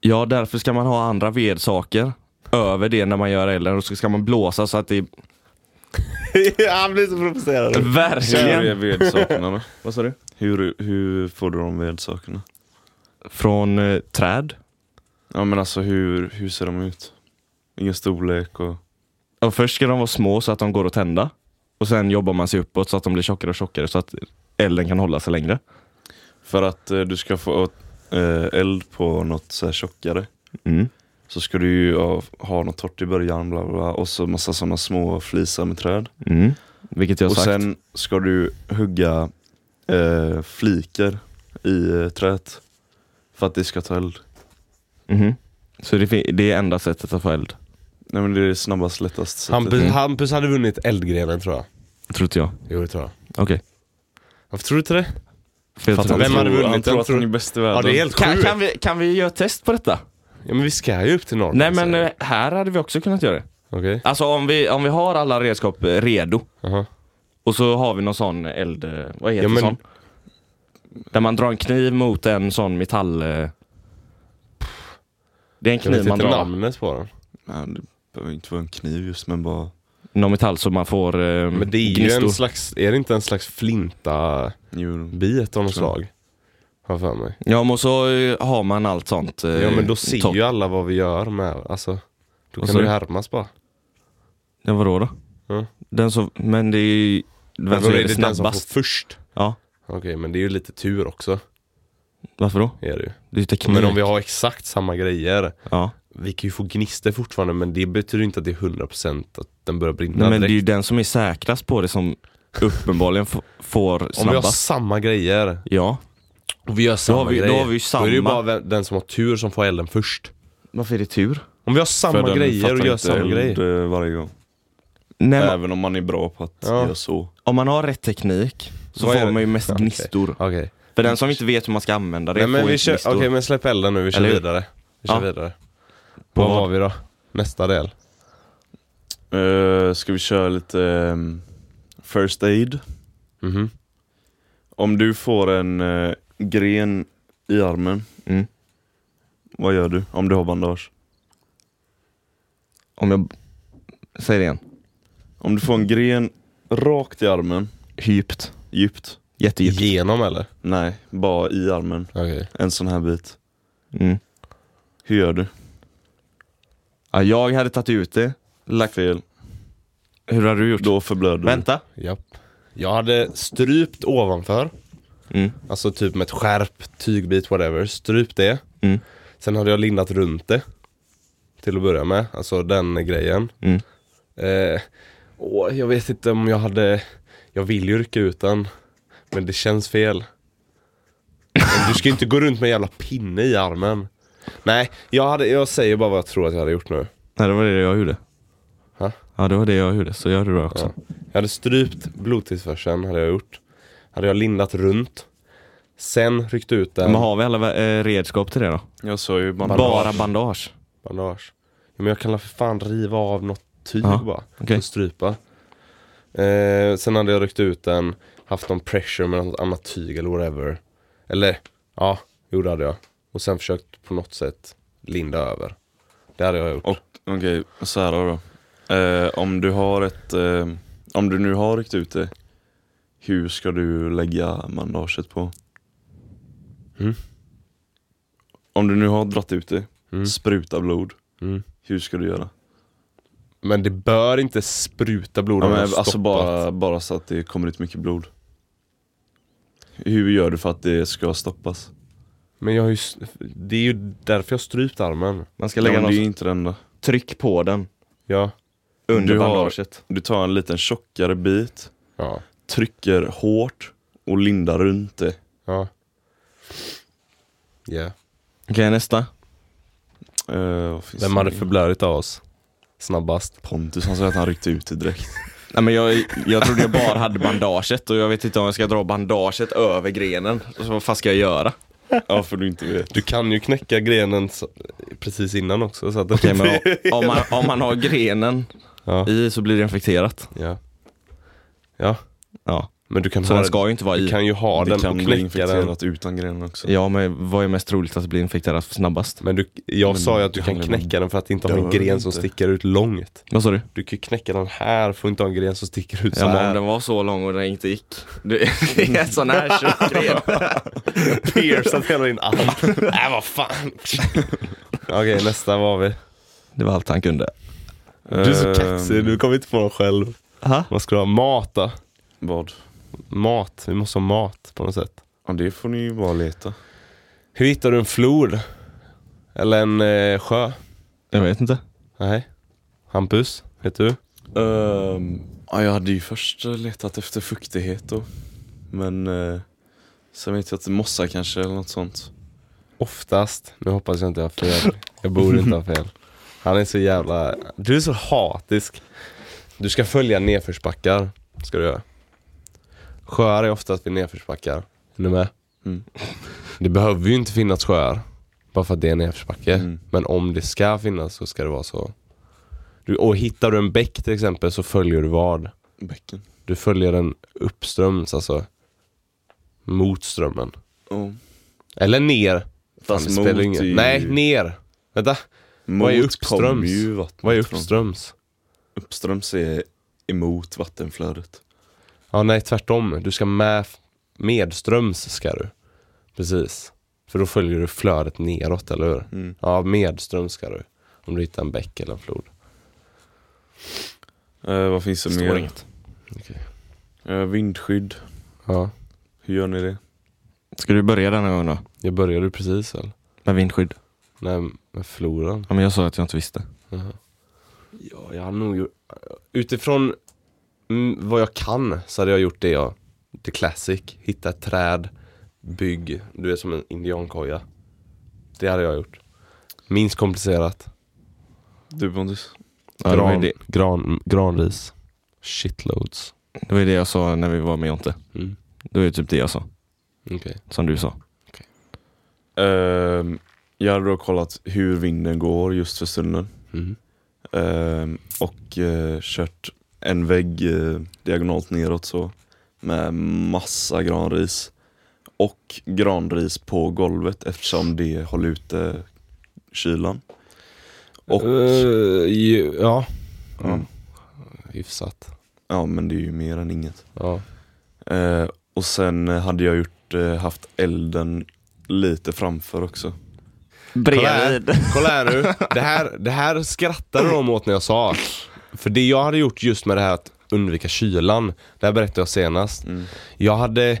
S4: Ja, därför ska man ha andra vedsaker över det när man gör elden och så ska man blåsa så att det...
S2: Han blir så provocerad.
S3: Hur är
S4: Verkligen!
S3: vedsakerna då?
S4: Vad sa du?
S3: Hur, hur får du de vedsakerna?
S4: Från eh, träd.
S3: Ja, men alltså hur, hur ser de ut? Ingen storlek och...
S4: Och först ska de vara små så att de går att tända. Och sen jobbar man sig uppåt så att de blir tjockare och tjockare så att elden kan hålla sig längre.
S3: För att eh, du ska få eh, eld på något så här tjockare
S4: Mm.
S3: så ska du ju ha, ha något torrt i början bla bla, bla och så massa sådana små flisar med träd.
S4: Mm. Vilket jag
S3: Och
S4: sagt.
S3: sen ska du hugga eh, flikar i eh, träet för att det ska ta eld.
S4: Mhm. Så det, fin- det är enda sättet att få eld.
S3: Nej men det är det snabbast, lättast sättet.
S2: Hampus, Hampus hade vunnit eldgrenen tror jag.
S4: Tror inte jag.
S2: Jo det tror jag.
S4: Okej.
S2: Varför tror du inte det?
S4: För jag
S2: Fattar
S4: tror-
S2: vem hade vunnit?
S3: Han tror
S2: Jag
S3: att
S2: tror-
S3: han är bäst i världen.
S2: Ja det är helt
S4: Kan,
S2: sjukt.
S4: kan, vi, kan vi göra ett test på detta?
S2: Ja men vi ska ju upp till Norrland.
S4: Nej men
S2: säger
S4: eh, här hade vi också kunnat göra det.
S2: jag. Okej.
S4: Alltså om vi, om vi har alla redskap eh, redo
S2: Jaha.
S4: och så har vi någon sån eld... eh, Vad heter
S2: Ja, men-
S4: sån? Där man drar en kniv mot en sån metall... eh, Det är en
S2: Jag vet
S4: kniv man
S2: inte
S4: drar.
S2: namnet Mm. på den.
S3: Nej, det behöver inte vara en kniv just men bara...
S4: Någon metall så man får eh,
S2: Men det är ju
S4: gnistor.
S2: en slags, är det inte en slags flinta
S3: Jo.
S2: bit av något
S3: Tror jag.
S2: slag? Har jag för mig.
S4: Ja men så eh, har man allt sånt. eh,
S2: Ja men då ser
S4: topp.
S2: ju alla vad vi gör med, alltså. Då
S4: Vad
S2: kan
S4: sa
S2: du
S4: du?
S2: härmas bara.
S4: Ja vadå då?
S2: Ja.
S4: Den som, men det är ju vem som
S2: Då
S4: är det
S2: den som får
S4: snabbast.
S2: först.
S4: Ja,
S2: Okej men det är ju lite tur också.
S4: varför då?
S2: Är det ju.
S4: Det är ju teknik.
S2: Men om vi har exakt samma grejer.
S4: Ja.
S2: Vi kan ju få gnistor fortfarande men det betyder inte att det är 100% att den börjar brinna
S4: Nej, men det är ju
S2: direkt.
S4: den som är säkrast på det som uppenbarligen f- får
S2: Om vi har
S4: snabbast.
S2: samma grejer
S4: Ja.
S2: och vi gör samma
S4: har vi- då
S2: grejer.
S4: har vi ju
S2: Då är det ju
S4: samma.
S2: bara vem- den som har tur som får elden först.
S4: Varför är det tur?
S2: Om vi har samma grejer och gör samma
S3: eld
S2: grejer.
S3: eh, varje gång.
S4: Nej, men
S3: Även om man är bra på att
S2: Ja.
S3: göra så.
S4: om man har rätt teknik så
S2: Vad är
S4: får
S2: det?
S4: man ju mest
S2: Okej.
S4: gnistor.
S2: Okej.
S4: För den som inte vet hur man ska använda det
S2: Nej men
S4: får
S2: vi
S4: inte
S2: kör,
S4: gnistor.
S2: okej men släpp elden nu, vi kör
S4: Eller hur?
S2: vidare. Vi kör
S4: Ja.
S2: vidare. Vad har vi då? Nästa del.
S3: Eh, ska vi köra lite ehm, first aid?
S2: Mhm.
S3: Om du får en eh, gren i armen,
S4: Mm.
S3: vad gör du om du har bandage?
S4: Om jag... Säg det igen.
S3: Om du får en gren rakt i armen,
S4: Djupt.
S3: djupt?
S4: Jättedjupt.
S2: Genom eller?
S3: Nej, bara i armen.
S2: Okej.
S3: En sån här bit.
S4: Mm.
S3: Hur gör du?
S4: Ja, jag hade tagit ut det.
S3: Lagt fel.
S4: Hur har du gjort?
S3: Då förblöder du.
S4: Vänta.
S2: Japp. Jag hade strypt ovanför.
S4: Mm.
S2: Alltså typ med ett skärp, tygbit, whatever. Strypt det.
S4: Mm.
S2: Sen hade jag lindat runt det. Till att börja med. Alltså den grejen.
S4: Mm.
S2: Eh, åh, jag vet inte om jag hade... Jag vill ju rycka ut den. Men det känns fel. Men du ska ju inte gå runt med en jävla pinne i armen. Nej, jag, hade, jag säger bara vad jag tror att jag hade gjort nu.
S4: Nej, det var det jag gjorde.
S2: Ha?
S4: Ja, det var det jag gjorde. Så gör du det också.
S2: Jag hade strypt blodtillförseln, hade jag gjort. Hade jag lindat runt. Sen ryckt ut den.
S4: Men har vi alla eh, redskap till det då?
S3: Jag sa ju bandage.
S4: Bara bandage.
S2: Bandage. Ja, men jag kan la för fan riva av något tyg
S4: Ja,
S2: bara.
S4: okej.
S2: Och strypa. Eh, sen hade jag ryckt ut den, haft någon pressure med något annat tyg eller whatever. Eller, ja, jo det hade jag. Och sen försökt på något sätt linda över. Det hade jag gjort.
S3: Och okej, så här då. Eh, om du har ett, eh, om du nu har ryckt ut det, hur ska du lägga bandaget på?
S2: Mm.
S3: Om du nu har dratt ut det,
S2: Mm.
S3: spruta blod,
S2: Mm.
S3: hur ska du göra?
S2: Men det bör inte spruta blod
S3: Ja,
S2: om
S3: men,
S2: jag har
S3: alltså
S2: stoppat.
S3: bara, bara så att det kommer ut mycket blod. Hur gör du för att det ska stoppas?
S2: Men jag har ju, s- det är ju därför jag har strypt armen.
S4: Man ska
S3: Ja,
S4: lägga
S3: men det är ju
S4: något
S3: inte det enda.
S4: tryck på den.
S2: Ja.
S4: Under
S3: Du har-
S4: bandaget.
S3: Du tar en liten tjockare bit,
S2: Ja.
S3: trycker hårt och lindar runt det.
S2: Ja. Yeah.
S4: Okej, nästa.
S3: Eh, vad finns
S2: Vem
S3: det
S2: hade
S3: mer?
S2: förblödigt av oss? Snabbast.
S3: Pontus han sa att han ryckte ut det direkt.
S4: Nej, men jag, jag trodde jag bara hade bandaget och jag vet inte om jag ska dra bandaget över grenen. Så vad fan ska jag göra?
S3: Ja för du inte vet.
S2: Du kan ju knäcka grenen så- precis innan också så att
S4: Okej, men om, om, man, om man har grenen
S2: ja.
S4: i så blir det infekterat.
S2: ja. ja,
S4: Ja.
S2: men du kan
S4: Så
S2: ha
S4: den
S2: den-
S4: ska ju inte vara
S2: Du
S4: i.
S2: kan ju ha
S3: det
S2: den
S3: kan
S2: och
S3: bli
S2: knäcka den.
S3: infekterat utan grenen också.
S4: Ja, men vad är mest roligt att det blir infekterat snabbast?
S2: Men du, jag
S3: Men
S2: sa ju att du
S3: det
S2: kan
S3: handlar om-
S2: knäcka den för att inte ha
S3: Dör
S2: en gren som
S3: inte.
S2: sticker ut långt.
S4: Vad sa du?
S2: Du kan ju knäcka den här, får inte ha en gren som sticker ut så
S4: Ja, men om
S2: här.
S4: den var så lång och den inte gick. Det är en sån här tjock gren.
S2: Piercat hela din arm. Nej, vad fan. Okej, nästa, vad har vi?
S4: Det var allt han kunde.
S2: Du är så
S3: Eh,
S2: kaxig, du kommer inte på någon själv.
S4: Ha?
S2: Vad ska du ha? Mat då?
S3: Vad?
S2: Mat, vi måste ha mat på något sätt.
S3: Ja det får ni ju bara leta.
S2: Hur hittar du en flod? Eller en eh, sjö?
S4: Jag vet inte.
S2: Nej. Hampus, vet du?
S3: Ehm, ja, jag hade ju först letat efter fuktighet då. Men eh, sen vet jag att det mossa kanske eller något sånt.
S2: Oftast, nu hoppas jag inte jag har fel. Jag borde inte ha fel. Han är så jävla... Du är så hatisk. Du ska följa nedförsbackar, ska du göra. Sjöar är oftast vid nedförsbackar. Är du med?
S3: Mm.
S2: Det behöver ju inte finnas sjöar. Bara för att det är nedförsbacke. Men om det ska finnas så ska det vara så. Du, och hittar du en bäck till exempel så följer du vad?
S3: Bäcken.
S2: Du följer den uppströms alltså. Mot strömmen.
S3: Ja.
S2: Eller ner. Fan,
S3: Fast
S2: Alltså, det
S4: Alltså,
S2: spelar
S3: mot
S2: ingen-
S3: är ju-
S2: Nej, ner. Vänta. Vad är
S3: Mot
S2: uppströms?
S3: kommer ju vattnet
S2: Vad är
S3: från.
S2: uppströms?
S3: Uppströms är emot vattenflödet.
S2: Ja, nej tvärtom. Du ska med, medströms ska du. Precis. För då följer du flödet neråt, eller hur?
S4: Mm.
S2: Ja, medströms ska du. Om du hittar en bäck eller en flod.
S3: Eh, vad finns det
S4: Står
S3: mer?
S4: inget.
S2: Okej.
S3: Eh, vindskydd.
S2: Ja,
S3: Hur gör ni det?
S4: Ska du börja den här gången då?
S2: jag började precis eller?
S4: Med vindskydd?
S2: Nej, med floran.
S4: Ja men jag sa att jag inte visste.
S2: Ja, jag hade nog gjort... Utifrån mm, vad jag kan så hade jag gjort det jag... The classic. Hitta ett träd, bygg, du är som en indiankoja. Det hade jag gjort. Minst komplicerat.
S3: Du Pontus?
S4: Ja, det, var ju det,
S2: gran, granris. Shitloads.
S4: det var ju det jag sa när vi var med Jonte.
S2: Mm.
S4: Det var ju typ det jag sa.
S2: Okej.
S4: Som du sa.
S3: Ehm, jag hade då kollat hur vinden går just för stunden.
S2: Mm.
S3: Ehm, och eh, kört en vägg eh, diagonalt neråt så med massa granris. Och granris på golvet eftersom det håller ute kylan. Och
S2: Eh, ju- ja. Mm.
S3: Ja.
S2: Hyfsat.
S3: ja, men det är ju mer än inget.
S2: Ja.
S3: Eh, och sen eh, hade jag gjort, eh, haft elden lite framför också.
S2: Kolla här, kolla här nu. Det här, det här skrattade de åt när jag sa. För det jag hade gjort just med det här att undvika kylan, det här berättade jag senast. Jag hade,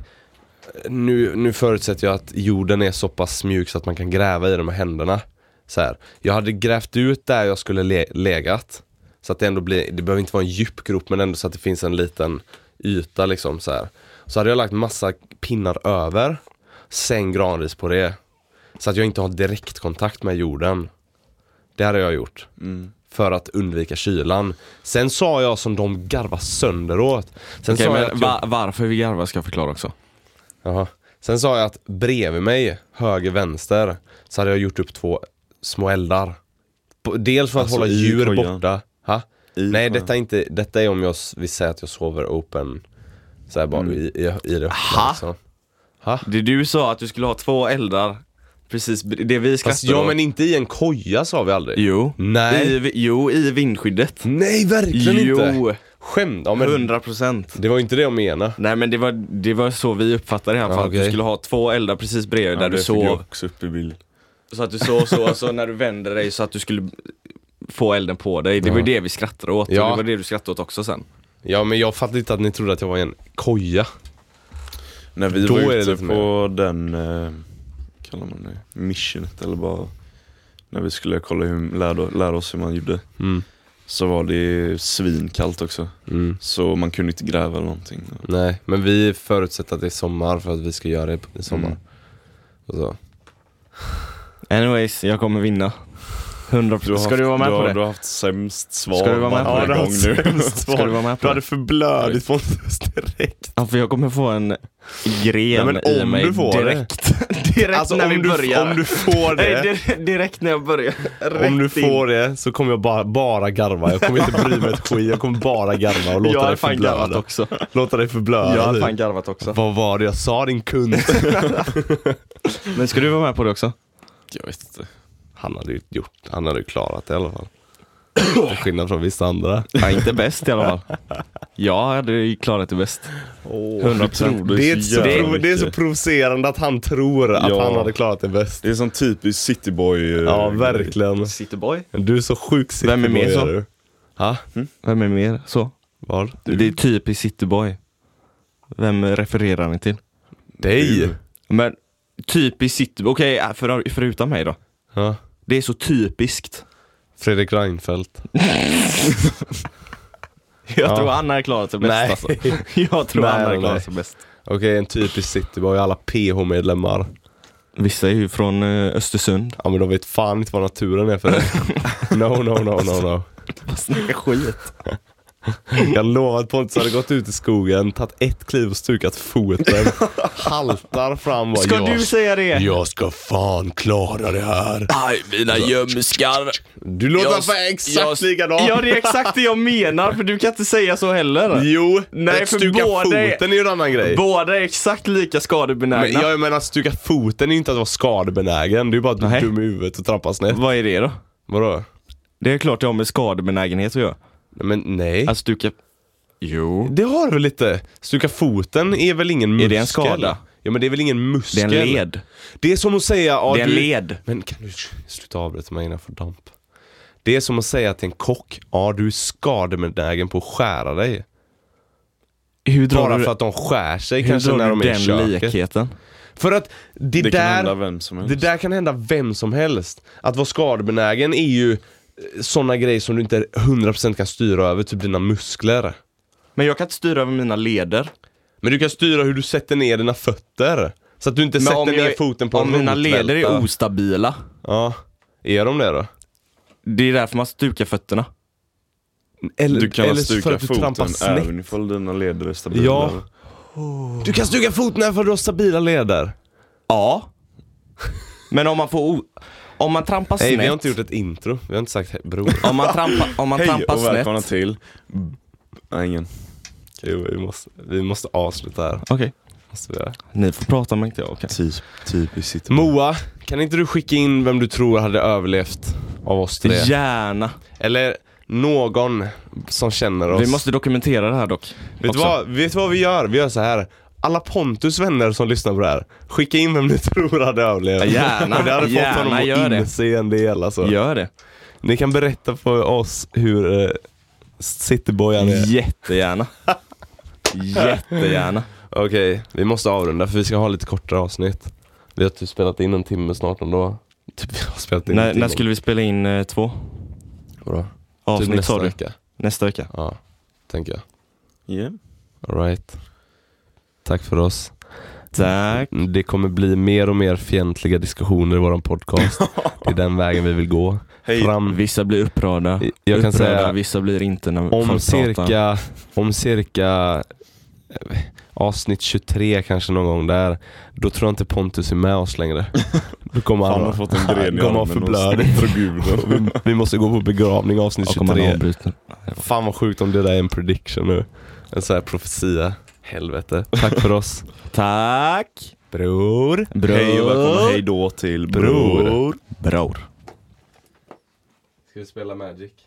S2: nu, nu förutsätter jag att jorden är så pass mjuk så att man kan gräva i den med händerna. Så här. Jag hade grävt ut där jag skulle le- legat. Så att det ändå blir, det behöver inte vara en djup grop men ändå så att det finns en liten yta liksom så här. Så hade jag lagt massa pinnar över, sen granris på det. Så att jag inte har direktkontakt med jorden. Det hade jag gjort.
S4: Mm.
S2: För att undvika kylan. Sen sa jag som de garvar sönder åt. Sen
S4: Okej,
S2: sa jag
S4: men
S2: att
S4: va, varför vi garvar ska jag förklara också.
S2: Jaha. Sen sa jag att bredvid mig, höger, vänster, så hade jag gjort upp två små eldar. På- Dels för att
S3: Alltså
S2: hålla
S3: i
S2: djur
S3: kojan?
S2: borta. Ha?
S3: I
S2: Nej,
S3: kojan?
S2: detta är, inte, detta är om jag s- vill säga att jag sover open, så här bara i, i, i det öppna.
S4: Ha?
S2: Liksom.
S4: Det du sa att du skulle ha två eldar precis b- det vi
S2: Fast,
S4: skrattade
S2: ja,
S4: åt.
S2: men inte i en koja sa vi aldrig.
S4: Jo.
S2: Nej.
S4: I, vi- jo, i vindskyddet.
S2: Nej, verkligen
S4: Jo.
S2: inte! Skämt, ja, men
S4: 100 procent.
S2: det var inte det jag menade.
S4: Nej men det var, det var så vi uppfattade det i alla
S2: Ja,
S4: fall. Att
S2: okej.
S4: du skulle ha två eldar precis bredvid
S3: Ja,
S4: där
S3: det
S4: du
S3: fick jag
S4: sov.
S3: också upp i bild.
S4: Så att du sov så, så när du vände dig så att du skulle få elden på dig. Det var ju det vi skrattade åt.
S2: Ja.
S4: Och det var det du skrattade åt också sen.
S2: Ja, men jag fattade inte att ni trodde att jag var i en koja.
S3: När vi
S2: Då är
S3: var
S2: det
S3: ute
S2: lite
S3: typ på den, eh, kallar man det, missionet eller bara när vi skulle kolla hur, lära, lära oss hur man gjorde.
S2: Mm.
S3: Så var det svinkallt också.
S2: Mm.
S3: Så man kunde inte gräva eller någonting.
S2: Nej, men vi förutsätter att det är sommar för att vi ska göra det i sommar.
S3: Mm.
S2: Och så.
S4: Anyways, jag kommer vinna. 100
S3: Du har
S4: Ska du vara med
S3: du,
S4: på
S3: har-
S4: det?
S3: Du har haft sämst svar
S4: Ska du vara med på
S3: varje
S4: det?
S3: gång nu.
S4: Ska du vara med på
S3: Du
S4: det?
S3: hade förblödigt Pontus direkt.
S4: Ja, för jag kommer få en gren
S3: Nej, men
S4: i
S3: om
S4: mig
S3: du får det.
S4: direkt. direkt
S2: Alltså,
S4: när
S2: om
S4: vi
S2: du-
S4: börjar.
S2: om du
S4: får
S2: det.
S4: Nej, dir- direkt när jag börjar.
S2: Om du
S4: Rätt in.
S2: får det så kommer jag bara, bara garva. Jag kommer inte bry mig ett skit. Jag kommer bara garva och
S4: Jag
S2: låta
S4: hade
S2: dig
S4: fan garvat
S2: förblöda.
S4: också.
S2: Låta dig förblöda.
S4: Jag hade
S2: du.
S4: fan garvat också.
S2: Vad var det jag sa din kund?
S4: Men ska du vara med på det också?
S3: Jag vet inte.
S2: Han hade ju gjort, han hade ju klarat det i alla fall. Till skillnad från vissa andra.
S4: Ja, inte bäst i alla fall. Jag hade ju klarat det bäst. 100%.
S3: Du
S2: Det är,
S3: så
S2: så
S3: jävla
S2: prov, det är så
S3: mycket.
S2: provocerande att han tror att
S3: Ja.
S2: han hade klarat det bäst.
S3: Det är sån typisk cityboy. eh,
S2: Ja,
S3: grej.
S2: verkligen.
S4: Cityboy.
S2: Du är så sjuk
S4: Vem är
S2: cityboy,
S4: mer så?
S2: du. Ha?
S4: Vem är mer så?
S2: Vad?
S4: Det är typiskt cityboy. Vem refererar ni till?
S2: Dig?
S4: Men typiskt cityboy, okej äh, för, förutom mig då.
S2: Ja.
S4: Det är så typiskt.
S2: Fredrik Reinfeldt.
S4: Jag
S2: Ja.
S4: tror han har klarat sig bäst
S2: Nej.
S4: alltså. Jag tror
S2: Nej,
S4: han har
S2: nej, nej.
S4: klarat sig bäst.
S2: Okej, en typisk cityboy. Alla PH-medlemmar.
S4: Vissa är ju från eh, Östersund.
S2: Ja men de vet fan inte vad naturen är för det. No, no, no, no, no.
S4: Vad snackar Alltså, skit.
S2: Jag lovar att Pontus hade gått ut i skogen, tagit ett kliv och stukat foten, haltar fram bara,
S4: Ska
S2: jag,
S4: du säga det?
S2: jag ska fan klara det här.
S5: Aj, mina gömskar.
S2: Du låter
S5: Jag-
S2: fan exakt
S5: jag-
S2: likadan.
S4: Ja, det är exakt det jag menar, för du kan inte säga så heller.
S2: Jo,
S4: Nej,
S2: att
S4: för
S2: stuka
S4: båda är-
S2: foten är ju en annan grej.
S4: Båda är exakt lika skadebenägna.
S2: Men jag menar att stuka foten är ju inte att vara skadebenägen, det är ju bara att du är
S4: Nej.
S2: dum i huvudet och trampar snett.
S4: Vad är det då?
S2: Vadå?
S4: Det är klart jag har med skadebenägenhet att göra.
S2: Nej, Men nej.
S4: Att stuka... Jo.
S2: det har du lite. Stuka foten är väl ingen muskel?
S4: Är det en skada?
S2: Ja men det är väl ingen
S4: Det är
S2: muskel?
S4: en led.
S2: Det är som att säga... Ja,
S4: Det är en
S2: du...
S4: led.
S2: Men kan du sluta avbryta mig innan jag får damp? Det är som att säga till en kock, ja du är skadebenägen på att skära dig.
S4: Hur drar
S2: Bara
S4: du,
S2: för att de skär sig
S4: hur
S2: kanske
S4: drar
S2: när
S4: du
S2: de är i
S4: den
S2: köket.
S4: likheten?
S2: För att det,
S3: Det
S2: där...
S3: kan hända vem som helst.
S2: Det där kan hända vem som helst. Att vara skadebenägen är ju sådana grejer som du inte 100% kan styra över, typ dina muskler.
S4: Men jag kan inte styra över mina leder.
S2: Men du kan styra hur du sätter ner dina fötter. Så att du inte sätter ner foten på
S4: om
S2: en
S4: mina
S2: rotvälta.
S4: leder är ostabila,
S2: Ja. Är de det då?
S4: det är därför man stukar fötterna.
S2: Eller,
S3: Du kan
S2: eller för
S3: stuka
S2: att du trampar
S3: foten
S2: snett.
S3: även ifall dina leder är stabila.
S2: Ja. Du kan stuka foten även för att du har stabila leder.
S4: Ja. Men om man får... O- om man trampar
S2: Nej,
S4: snett.
S2: vi har inte gjort ett intro. Vi har inte sagt he- bror.
S4: Om man trampar, om man
S3: Hej
S4: trampar
S3: och
S4: snett.
S3: välkomna
S4: Okej.
S3: till... Nej, ingen.
S2: Jo, vi måste, vi måste avsluta här. Måste vi göra.
S4: Ni får prata men inte jag. okej.
S3: Typ, typiskt sitter
S2: Moa, kan inte du skicka in vem du tror hade överlevt av oss tre?
S4: Gärna.
S2: Eller någon som känner oss.
S4: Vi måste dokumentera det här dock.
S2: vet, du
S4: också.
S2: vad, vet du vad vi gör? Vi gör så här. Alla Pontus vänner som lyssnar på det här, skicka in vem ni tror hade överlevt.
S4: Ja, gärna.
S2: För det hade
S4: Gärna,
S2: fått
S4: gör
S2: honom
S4: det.
S2: att inse en del alltså.
S4: Gör det.
S2: Ni kan berätta för oss hur eh, cityboy han är.
S4: Jättegärna. Jättegärna.
S2: Okej, vi måste avrunda för vi ska ha lite kortare avsnitt. Vi har typ spelat in en timme snart ändå. Typ, vi har spelat in en
S4: När,
S2: timme.
S4: när skulle vi spela in eh, två
S2: Vadå? Typ
S4: avsnitt
S2: nästa
S4: sa du?
S2: vecka.
S4: Nästa vecka.
S2: Ja, tänker jag.
S3: Yeah.
S2: Alright. Tack för oss.
S4: Tack.
S2: Mm, Det kommer bli mer och mer fientliga diskussioner i våran podcast. Det är den vägen vi vill gå.
S3: Hej.
S2: Fram,
S4: Vissa blir upprörda.
S2: Mm. jag kan
S4: upprörda.
S2: säga
S4: Vissa blir inte när
S2: om
S4: folk pratar.
S2: cirka, om cirka eh, avsnitt 23 kanske någon gång där, då tror jag inte Pontus är med oss längre. Då kommer
S3: Han har
S2: han,
S3: fått en gren i
S2: kommer han
S3: armen och
S2: förblöd.
S3: spritter gul.
S2: Vi, vi måste gå på begravning avsnitt
S4: Och om man
S2: 23.
S4: avbryter.
S2: Fan vad sjukt om det där är en prediction nu. En sån här profetia. Helvete. Tack för oss.
S4: Tack.
S2: Bror.
S4: Bror.
S3: Hej och välkomna hej då till Bror.
S4: Bror.
S2: Ska vi spela Magic?